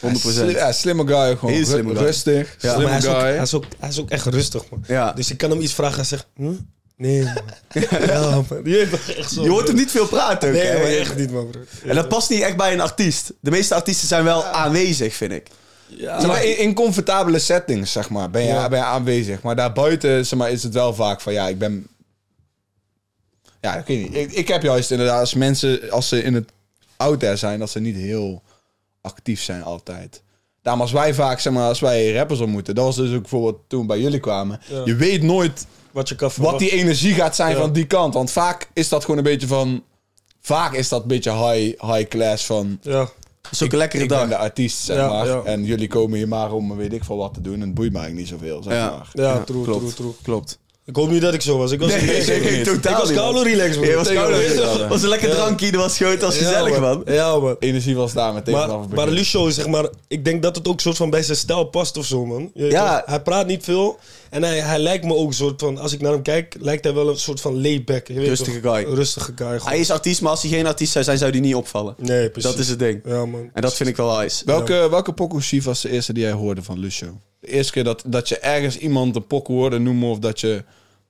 [SPEAKER 2] Ja, slimme guy. Gewoon
[SPEAKER 3] Heel
[SPEAKER 2] Ru-
[SPEAKER 3] slimme guy.
[SPEAKER 2] rustig.
[SPEAKER 3] Ja,
[SPEAKER 1] maar hij
[SPEAKER 2] Slimme
[SPEAKER 1] is, ook,
[SPEAKER 2] guy.
[SPEAKER 1] hij, is ook, hij is ook echt rustig man.
[SPEAKER 3] Ja.
[SPEAKER 1] Dus ik kan hem iets vragen en zeggen, hm? nee man. ja man, je weet toch echt zo.
[SPEAKER 3] Je hoort hem niet veel praten. ook,
[SPEAKER 1] Nee
[SPEAKER 3] hè?
[SPEAKER 1] maar echt niet man bro.
[SPEAKER 3] En dat past niet echt bij een artiest. De meeste artiesten zijn wel aanwezig, vind ik.
[SPEAKER 2] Zeg maar, in, in comfortabele settings, zeg maar, ben je,
[SPEAKER 1] Ah, Ja.
[SPEAKER 2] ben je aanwezig. Maar daarbuiten zeg maar, is het wel vaak van, ja, ik ben... Ja, ik weet niet. Ik, ik heb juist inderdaad, als mensen, als ze in het out there zijn, dat ze niet heel actief zijn altijd. Daarom als wij vaak, zeg maar, als wij rappers ontmoeten, dat was dus ook bijvoorbeeld toen bij jullie kwamen.
[SPEAKER 1] Ja.
[SPEAKER 2] Je weet nooit
[SPEAKER 1] Wat je kan
[SPEAKER 2] wat die energie gaat zijn
[SPEAKER 1] Ja.
[SPEAKER 2] van die kant. Want vaak is dat gewoon een beetje van... Vaak is dat een beetje high, high class van...
[SPEAKER 1] Ja,
[SPEAKER 3] Dat is ook een lekkere
[SPEAKER 2] Ik ben
[SPEAKER 3] dag.
[SPEAKER 2] de artiest, zeg
[SPEAKER 1] Ja,
[SPEAKER 2] maar.
[SPEAKER 1] ja.
[SPEAKER 2] En jullie komen hier maar om weet ik veel wat te doen. En het boeit mij eigenlijk niet zoveel, zeg
[SPEAKER 3] Ja.
[SPEAKER 2] maar.
[SPEAKER 1] ja, true, true, true.
[SPEAKER 3] Klopt.
[SPEAKER 1] Ik hoop niet dat ik zo was. Ik was
[SPEAKER 3] Nee, nee, nee, nee, totaal
[SPEAKER 1] Ik was
[SPEAKER 3] niet, man.
[SPEAKER 1] koude relaxed man.
[SPEAKER 3] Ja, was, koud,
[SPEAKER 1] Weet je toch?
[SPEAKER 3] was een lekker drankje, dat was gewoon, het was gezellig,
[SPEAKER 1] ja,
[SPEAKER 3] man.
[SPEAKER 1] Ja man.
[SPEAKER 2] Energie was daar meteen vanaf
[SPEAKER 1] Maar,
[SPEAKER 2] het
[SPEAKER 1] maar
[SPEAKER 2] begin.
[SPEAKER 1] Lucio, zeg maar, ik denk dat het ook soort van bij zijn stijl past of zo, man. Je weet
[SPEAKER 3] Ja.
[SPEAKER 1] toch? Hij praat niet veel en hij, hij lijkt me ook soort van, als ik naar hem kijk, lijkt hij wel een soort van layback. je weet
[SPEAKER 3] Rustige
[SPEAKER 1] toch?
[SPEAKER 3] guy.
[SPEAKER 1] Rustige guy. gewoon.
[SPEAKER 3] Hij is artiest, maar als hij geen artiest zou zijn, zou hij niet opvallen.
[SPEAKER 1] Nee, precies.
[SPEAKER 3] Dat is het ding.
[SPEAKER 1] Ja, man.
[SPEAKER 3] En dat vind ik wel nice.
[SPEAKER 2] welke, welke pokoe Chief was de eerste die jij hoorde van Lucio? De eerste keer dat, dat je ergens iemand een pokoe hoorde noemen of dat je...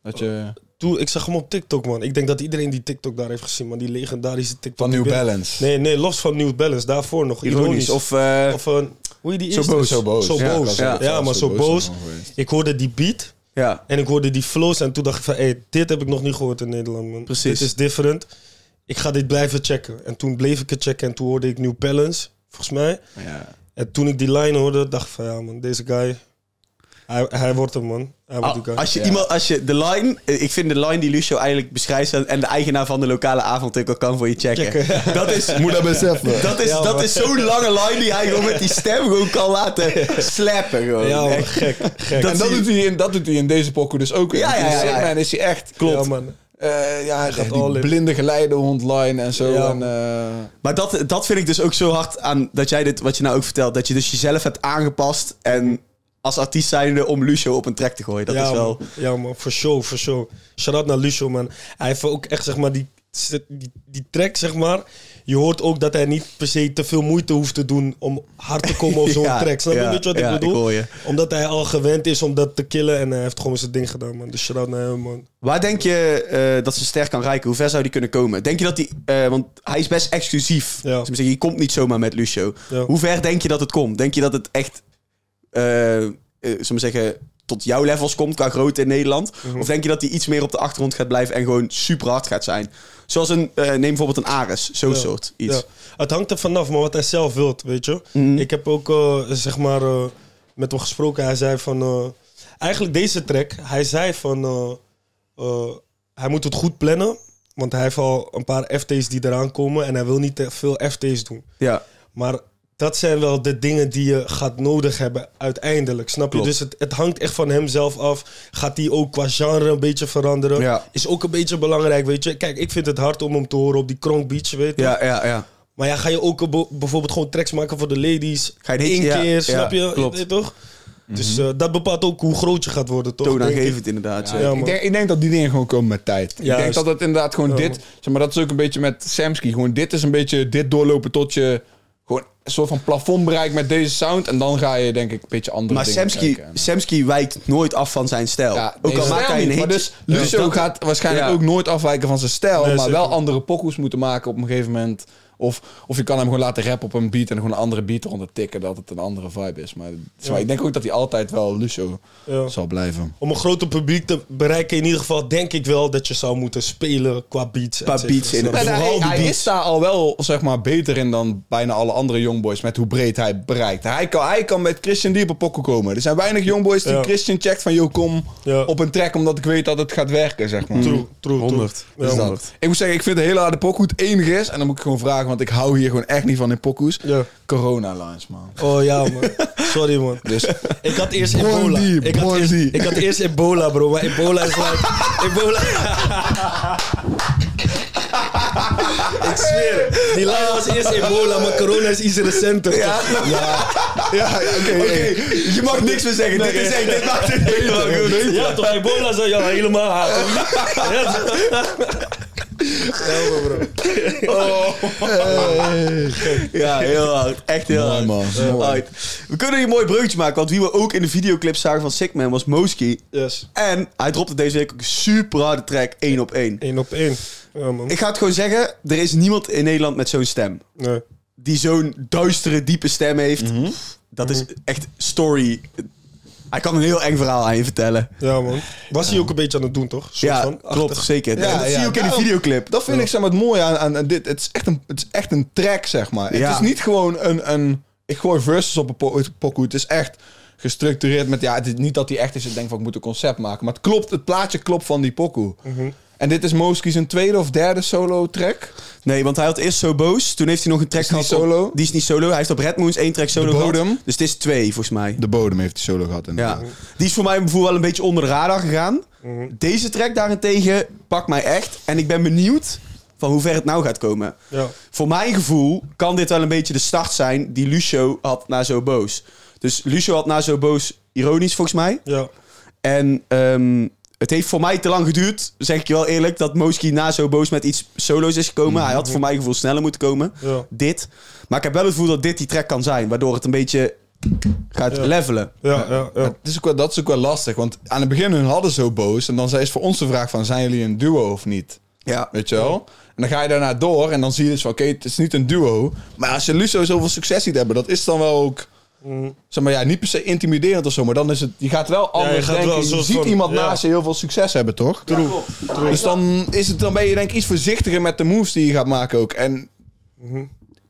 [SPEAKER 2] Dat je
[SPEAKER 1] Toen, ik zag hem op TikTok, man. Ik denk dat iedereen die TikTok daar heeft gezien, man. Die legendarische TikTok.
[SPEAKER 2] van
[SPEAKER 1] Die
[SPEAKER 2] New
[SPEAKER 1] binnen-
[SPEAKER 2] Balance.
[SPEAKER 1] Nee, nee, los van New Balance. Daarvoor nog. Ironisch.
[SPEAKER 3] Ironisch. Of, eh,
[SPEAKER 1] Of een... Hoe je die
[SPEAKER 3] Zo
[SPEAKER 1] eerste?
[SPEAKER 3] boos.
[SPEAKER 2] Zo boos.
[SPEAKER 1] Zo
[SPEAKER 2] Ja,
[SPEAKER 1] boos.
[SPEAKER 2] dat
[SPEAKER 1] Ja,
[SPEAKER 2] was- dat
[SPEAKER 1] maar
[SPEAKER 2] was
[SPEAKER 1] zo
[SPEAKER 2] zo
[SPEAKER 1] boos.
[SPEAKER 2] boos.
[SPEAKER 1] Ik hoorde die beat.
[SPEAKER 3] Ja.
[SPEAKER 1] En ik hoorde die flows en toen dacht ik van, hey, dit heb ik nog niet gehoord in Nederland, man.
[SPEAKER 3] Precies.
[SPEAKER 1] Dit is different. Ik ga dit blijven checken. En toen bleef ik het checken en toen hoorde ik New Balance, volgens mij.
[SPEAKER 3] ja.
[SPEAKER 1] En toen ik die line hoorde, dacht ik van, ja man, deze guy, hij, hij wordt hem, man. Hij wordt die guy.
[SPEAKER 3] Ah, Als je iemand, als je de line, eh, ik vind de line die Lucio eigenlijk beschrijft en de eigenaar van de lokale avondwinkel kan voor je checken. Dat is,
[SPEAKER 5] Moet dat beseffen.
[SPEAKER 3] dat is,
[SPEAKER 1] Ja,
[SPEAKER 3] dat
[SPEAKER 1] man.
[SPEAKER 3] is zo'n lange line die hij gewoon met die stem gewoon kan laten slappen. Gewoon.
[SPEAKER 1] Ja man,
[SPEAKER 3] Echt.
[SPEAKER 1] gek, gek.
[SPEAKER 3] Dat
[SPEAKER 2] en dat
[SPEAKER 3] zie-
[SPEAKER 2] doet, hij in, dat doet hij in deze pokoe dus ook weer.
[SPEAKER 3] Ja,
[SPEAKER 2] Want
[SPEAKER 3] ja,
[SPEAKER 2] in
[SPEAKER 3] ja, ja.
[SPEAKER 2] Sandman is hij echt...
[SPEAKER 1] Ja, man.
[SPEAKER 2] Eh, ja, hij gaat die
[SPEAKER 1] all in.
[SPEAKER 2] blinde geleidehondline en zo.
[SPEAKER 1] Ja.
[SPEAKER 2] en, eh,
[SPEAKER 3] Maar dat, dat vind ik dus ook zo hard aan dat jij dit, wat je nou ook vertelt, dat je dus jezelf hebt aangepast en als artiest zijnde om Lucio op een track te gooien. Dat
[SPEAKER 1] ja,
[SPEAKER 3] is wel...
[SPEAKER 1] Man. Ja, man, voor show, voor show. Shout-out naar Lucio, man. Hij heeft ook echt, zeg maar, die, die, die track, zeg maar. Je hoort ook dat hij niet per se te veel moeite hoeft te doen om hard te komen op zo'n
[SPEAKER 3] Ja,
[SPEAKER 1] track. Snap je
[SPEAKER 3] ja,
[SPEAKER 1] weet je wat
[SPEAKER 3] ja,
[SPEAKER 1] ik bedoel?
[SPEAKER 3] ik hoor je.
[SPEAKER 1] Omdat hij al gewend is om dat te killen en hij heeft gewoon zijn ding gedaan, man. Dus shout-out naar hem, man.
[SPEAKER 3] Waar denk je eh, dat ze ster kan reiken? Hoe ver zou die kunnen komen? Denk je dat die... eh, want hij is best exclusief.
[SPEAKER 1] Ja.
[SPEAKER 3] Dus je komt niet zomaar met Lucio.
[SPEAKER 1] Ja.
[SPEAKER 3] Hoe ver denk je dat het komt? Denk je dat het echt... eh eh, zullen we zeggen... Tot jouw levels komt qua grootte in Nederland?
[SPEAKER 1] Mhm.
[SPEAKER 3] Of denk je dat hij iets meer op de achtergrond gaat blijven en gewoon super hard gaat zijn? Zoals een, eh, neem bijvoorbeeld een Ares, zo'n
[SPEAKER 1] Ja,
[SPEAKER 3] soort iets. Mhm.
[SPEAKER 1] ja. Het hangt er vanaf, maar wat hij zelf wilt, weet je. Ik heb ook, eh, zeg maar, eh, met hem gesproken. Hij zei van... eh, eigenlijk deze track, hij zei van... eh, eh, hij moet het goed plannen. Want hij heeft al een paar FT's die eraan komen. En hij wil niet te veel FT's doen.
[SPEAKER 3] Ja.
[SPEAKER 1] Maar dat zijn wel de dingen die je gaat nodig hebben uiteindelijk. Snap je?
[SPEAKER 3] Klopt.
[SPEAKER 1] Dus het, het hangt echt van hemzelf af. Gaat hij ook qua genre een beetje veranderen?
[SPEAKER 3] Ja.
[SPEAKER 1] Is ook een beetje belangrijk, weet je. Kijk, ik vind het hard om hem te horen op die Kronk Beach, weet je.
[SPEAKER 3] Ja, ja, ja.
[SPEAKER 1] Maar ja, ga je ook bo- bijvoorbeeld gewoon tracks maken voor de ladies?
[SPEAKER 3] Ga je dit-
[SPEAKER 1] Eén
[SPEAKER 3] ja,
[SPEAKER 1] keer,
[SPEAKER 3] ja,
[SPEAKER 1] snap je?
[SPEAKER 3] klopt. Mhm.
[SPEAKER 1] Weet je toch? Dus eh, dat bepaalt ook hoe groot je gaat worden, toch? Denk ik.
[SPEAKER 3] Toonaangevend inderdaad.
[SPEAKER 1] Ja,
[SPEAKER 3] ja.
[SPEAKER 1] man.
[SPEAKER 2] ik, denk, ik denk dat die dingen gewoon komen met tijd. ik denk
[SPEAKER 1] Juist.
[SPEAKER 2] dat het inderdaad gewoon
[SPEAKER 1] Ja,
[SPEAKER 2] dit...
[SPEAKER 1] man.
[SPEAKER 2] Zeg maar dat is ook een beetje met Samsky. Gewoon dit is een beetje dit doorlopen tot je... Gewoon een soort van plafond bereikt met deze sound. En dan ga je denk ik een beetje andere
[SPEAKER 3] Maar
[SPEAKER 2] dingen
[SPEAKER 3] Semsky,
[SPEAKER 2] kijken.
[SPEAKER 3] Semsky wijkt nooit af van zijn stijl.
[SPEAKER 2] Ja,
[SPEAKER 3] ook al maakt hij een
[SPEAKER 2] niet.
[SPEAKER 3] hit.
[SPEAKER 2] Maar dus Lucio
[SPEAKER 3] dat-
[SPEAKER 2] gaat waarschijnlijk
[SPEAKER 3] Ja.
[SPEAKER 2] ook nooit afwijken van zijn stijl,
[SPEAKER 1] Nee,
[SPEAKER 2] maar
[SPEAKER 1] zeker.
[SPEAKER 2] wel andere pokoes moeten maken op een gegeven moment. Of, of je kan hem gewoon laten rappen op een beat en gewoon een andere beat eronder tikken, dat het een andere vibe is. Maar, zeg maar ik denk ook dat hij altijd wel Lucio
[SPEAKER 1] Ja.
[SPEAKER 2] zal blijven.
[SPEAKER 1] Om een groter publiek te bereiken, in ieder geval, denk ik wel dat je zou moeten spelen qua beats.
[SPEAKER 3] Qua
[SPEAKER 1] et cetera.
[SPEAKER 3] beats in-
[SPEAKER 1] Snap je?
[SPEAKER 2] Maar
[SPEAKER 3] Vooral
[SPEAKER 2] hij,
[SPEAKER 3] die
[SPEAKER 2] hij
[SPEAKER 3] beats.
[SPEAKER 2] is daar al wel zeg maar, beter in dan bijna alle andere jongboys met hoe breed hij bereikt. Hij kan, hij kan met Christian Dieper pokken komen. Er zijn weinig jongboys die
[SPEAKER 1] Ja.
[SPEAKER 2] Christian checkt van yo kom
[SPEAKER 1] Ja.
[SPEAKER 2] op een track omdat ik weet dat het gaat werken. Zeg maar.
[SPEAKER 1] True, true,
[SPEAKER 3] 100.
[SPEAKER 1] true. Ja,
[SPEAKER 2] Is dat.
[SPEAKER 1] man.
[SPEAKER 2] Ik moet zeggen, ik vind de hele harde pokoe het enige is. En dan moet ik gewoon vragen, want ik hou hier gewoon echt niet van in pokoes.
[SPEAKER 1] Ja.
[SPEAKER 2] Corona lines, man.
[SPEAKER 1] Oh ja, man. Sorry, man.
[SPEAKER 2] Dus
[SPEAKER 1] Ik had eerst
[SPEAKER 2] Bondi,
[SPEAKER 1] ebola. Ik had eerst,
[SPEAKER 2] Bondi.
[SPEAKER 1] ik had eerst ebola, bro. Maar ebola is like... Ebola... ik zweer het. Die lijn was eerst ebola, maar corona is iets recenter. Ja,
[SPEAKER 2] ja, oké. hey.
[SPEAKER 3] Je mag niks meer zeggen. dit is echt, dit maakt het helemaal goed.
[SPEAKER 1] ja toch? Ebola zou jou helemaal haten.
[SPEAKER 3] Ja, heel hard. Echt heel
[SPEAKER 2] Mooi,
[SPEAKER 3] hard.
[SPEAKER 2] man.
[SPEAKER 3] Eh,
[SPEAKER 2] Mooi.
[SPEAKER 3] hard. We kunnen hier een mooi breukje maken, want wie we ook in de videoclip zagen van Sickman was Moski.
[SPEAKER 1] Yes.
[SPEAKER 3] En hij dropte deze week ook een super harde track, één op één.
[SPEAKER 1] Eén op één. Ja, man.
[SPEAKER 3] Ik ga het gewoon zeggen, er is niemand in Nederland met zo'n stem.
[SPEAKER 1] Nee.
[SPEAKER 3] Die zo'n duistere, diepe stem heeft.
[SPEAKER 2] Mhm.
[SPEAKER 3] Dat is echt story. Hij kan een heel eng verhaal aan je vertellen.
[SPEAKER 1] Ja, man. Was hij ook een beetje aan het doen, toch? Soort
[SPEAKER 3] Ja,
[SPEAKER 1] van.
[SPEAKER 3] klopt, zeker.
[SPEAKER 2] Ja,
[SPEAKER 3] dat zie
[SPEAKER 2] ja,
[SPEAKER 3] je ook in de
[SPEAKER 2] daarom-
[SPEAKER 3] videoclip.
[SPEAKER 2] Dat vind ik zeg maar, het mooie aan, aan dit. Het is, echt een, het is echt een track, zeg maar.
[SPEAKER 3] Ja.
[SPEAKER 2] Het is niet gewoon een... een ik gooi verses op een po- pokoe. Het is echt gestructureerd met... Ja, het is niet dat hij echt is. Ik denk van, ik moet een concept maken. Maar het klopt. Het plaatje klopt van die pokoe. En dit is Moski zijn tweede of derde solo track.
[SPEAKER 3] Nee, want hij had eerst zo boos. Toen heeft hij nog een track
[SPEAKER 2] Is die
[SPEAKER 3] gehad. op-
[SPEAKER 2] solo?
[SPEAKER 3] die is niet solo. Hij heeft op Red Moons één track solo
[SPEAKER 2] De Bodem. Mhm.
[SPEAKER 3] gehad. Dus het is twee, volgens mij.
[SPEAKER 2] De bodem heeft hij solo gehad. En
[SPEAKER 3] Ja. Die is voor mij bijvoorbeeld wel een beetje onder de radar gegaan.
[SPEAKER 2] Mhm.
[SPEAKER 3] Deze track daarentegen pakt mij echt. En ik ben benieuwd van hoe ver het nou gaat komen.
[SPEAKER 1] Ja.
[SPEAKER 3] Voor mijn gevoel kan dit wel een beetje de start zijn die Lucio had na zo boos. Dus Lucio had na zo boos ironisch, volgens mij.
[SPEAKER 1] Ja.
[SPEAKER 3] En ehm, het heeft voor mij te lang geduurd, zeg ik je wel eerlijk, dat Moski na zo boos met iets solo's is gekomen. Hij had voor
[SPEAKER 2] Mhm.
[SPEAKER 3] mijn gevoel sneller moeten komen.
[SPEAKER 1] Ja.
[SPEAKER 3] Dit. Maar ik heb wel het gevoel dat dit die track kan zijn, waardoor het een beetje eh, gaat
[SPEAKER 1] Ja.
[SPEAKER 3] levelen.
[SPEAKER 1] Ja, ja, ja.
[SPEAKER 2] Maar het is ook wel, dat is ook wel lastig, want aan het begin hun hadden zo boos. En dan is voor ons de vraag van, zijn jullie een duo of niet?
[SPEAKER 3] Ja.
[SPEAKER 2] Weet je wel? En dan ga je daarna door en dan zie je dus van, oké, het is niet een duo. Maar als je Lucio zoveel succes ziet hebben, dat is dan wel ook... Zeg maar ja, niet per se intimiderend of zo, maar dan is het. Je gaat wel anders
[SPEAKER 1] Mm. je gaat
[SPEAKER 2] denken.
[SPEAKER 1] wel een
[SPEAKER 2] je
[SPEAKER 1] soort
[SPEAKER 2] ziet
[SPEAKER 1] van-
[SPEAKER 2] iemand
[SPEAKER 1] ja.
[SPEAKER 2] naast je heel veel succes hebben, toch? Dus dan, is het, dan ben je denk ik iets voorzichtiger met de moves die je gaat maken ook. En
[SPEAKER 1] Mhm.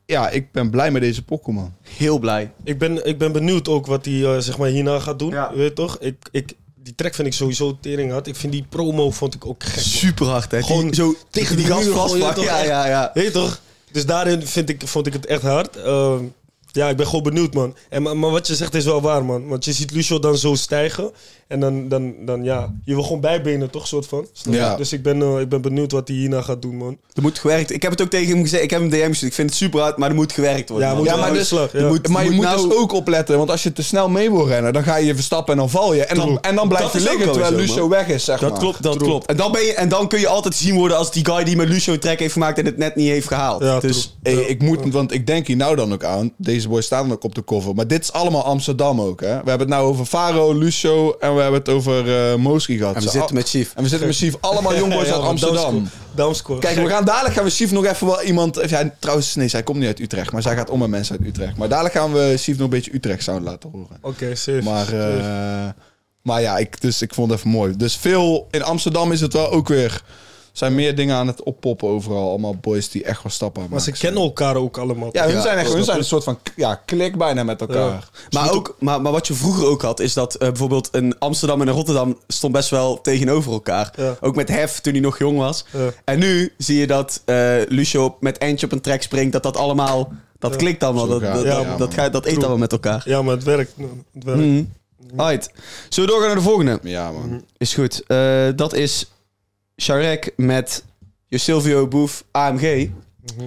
[SPEAKER 2] ja, ik ben blij met deze Pokémon.
[SPEAKER 3] Heel blij.
[SPEAKER 1] Ik ben, ik ben benieuwd ook wat hij eh, zeg maar hierna gaat doen.
[SPEAKER 3] Ja.
[SPEAKER 1] Weet je toch? Ik, ik, die track vind ik sowieso tering hard. Ik vind die promo vond ik ook gek. man.
[SPEAKER 3] Super hard, hè?
[SPEAKER 1] Gewoon
[SPEAKER 3] die, zo tegen die
[SPEAKER 1] die
[SPEAKER 3] gast
[SPEAKER 1] muur gewoon,
[SPEAKER 3] vastpakken.
[SPEAKER 1] ja,
[SPEAKER 3] Ja,
[SPEAKER 1] toch?
[SPEAKER 3] ja, ja.
[SPEAKER 1] Weet je toch? Dus daarin vind ik, vond ik het echt hard. Ehm, ja, ik ben gewoon benieuwd, man. En, maar, maar wat je zegt is wel waar, man. Want je ziet Lucio dan zo stijgen. En dan, dan, dan ja, je wil gewoon bijbenen, toch? Soort van. Snap je?
[SPEAKER 2] Ja.
[SPEAKER 1] Dus ik ben, eh, ik ben benieuwd wat hij hierna gaat doen, man.
[SPEAKER 3] Er moet gewerkt. Ik heb het ook tegen hem gezegd. Ik heb hem DM gestuurd. Ik vind het super hard, maar er moet gewerkt worden.
[SPEAKER 1] Ja,
[SPEAKER 3] man.
[SPEAKER 1] moet
[SPEAKER 2] Ja,
[SPEAKER 1] wel
[SPEAKER 2] maar
[SPEAKER 1] aan de
[SPEAKER 2] dus-
[SPEAKER 1] slag, ja.
[SPEAKER 3] er moet-
[SPEAKER 2] maar je moet
[SPEAKER 3] nou-
[SPEAKER 2] dus ook opletten, want als je te snel mee wil rennen, dan ga je verstappen en dan val je. En dan,
[SPEAKER 1] True.
[SPEAKER 2] en dan blijf
[SPEAKER 3] Dat
[SPEAKER 2] je
[SPEAKER 3] is ook
[SPEAKER 2] liggen
[SPEAKER 3] wel
[SPEAKER 2] terwijl
[SPEAKER 3] zo,
[SPEAKER 2] Lucio
[SPEAKER 3] man.
[SPEAKER 2] weg is, zeg
[SPEAKER 3] Dat
[SPEAKER 2] maar.
[SPEAKER 3] klopt, dat klopt. En dan, ben je, en dan kun je altijd zien worden als die guy die met Lucio een track heeft gemaakt en het net niet heeft gehaald.
[SPEAKER 1] Ja,
[SPEAKER 3] dus
[SPEAKER 2] Hey, ik moet, want ik denk hier nou dan ook aan. Deze boys staan ook op de cover. Maar dit is allemaal Amsterdam ook, hè? We hebben het nou over Faro, Lucio en we hebben het over eh Moski gehad.
[SPEAKER 3] En we
[SPEAKER 2] Ze
[SPEAKER 3] zitten
[SPEAKER 2] al-
[SPEAKER 3] met Chief.
[SPEAKER 2] En we zitten met Chief. Allemaal jongboys
[SPEAKER 1] Ja,
[SPEAKER 2] uit
[SPEAKER 1] man,
[SPEAKER 2] Amsterdam.
[SPEAKER 1] Damsco- Damsco.
[SPEAKER 2] Kijk, we gaan, dadelijk gaan we Chief nog even wel iemand... Of ja, trouwens, nee, zij komt niet uit Utrecht. Maar zij gaat om met mensen uit Utrecht. Maar dadelijk gaan we Chief nog een beetje Utrecht sound laten horen.
[SPEAKER 1] Oké, safe.
[SPEAKER 2] Maar, eh,
[SPEAKER 1] Safe.
[SPEAKER 2] maar ja, ik, dus, ik vond het even mooi. Dus veel... In Amsterdam is het wel ook weer... zijn meer dingen aan het oppoppen overal. Allemaal boys die echt wel stappen aan
[SPEAKER 1] maar ze
[SPEAKER 2] maken.
[SPEAKER 1] kennen elkaar ook allemaal.
[SPEAKER 2] Ja,
[SPEAKER 1] toch?
[SPEAKER 2] hun zijn echt
[SPEAKER 1] dat
[SPEAKER 2] hun zijn
[SPEAKER 1] snap
[SPEAKER 2] een soort van ja, klik bijna met elkaar.
[SPEAKER 3] Maar, ook, maar, maar wat je vroeger ook had, is dat eh, bijvoorbeeld een Amsterdam en een Rotterdam stond best wel tegenover elkaar.
[SPEAKER 1] Ja.
[SPEAKER 3] Ook met Hef toen hij nog jong was.
[SPEAKER 1] Ja.
[SPEAKER 3] En nu zie je dat eh, Lucio met Eindje op een track springt, dat dat allemaal, dat klikt allemaal. Dat,
[SPEAKER 2] gaat
[SPEAKER 3] dat,
[SPEAKER 2] het,
[SPEAKER 3] dat,
[SPEAKER 2] ja,
[SPEAKER 3] dat,
[SPEAKER 2] man.
[SPEAKER 3] gaat- dat eet allemaal met elkaar. Mhm.
[SPEAKER 1] ik. Ja, maar het werkt. man. Het werkt.
[SPEAKER 3] Hmm. Alright, zullen we doorgaan naar de volgende?
[SPEAKER 2] Ja, man.
[SPEAKER 3] Is goed. Eh, dat is Sharek met Josilvio Boef AMG.
[SPEAKER 1] Mhm.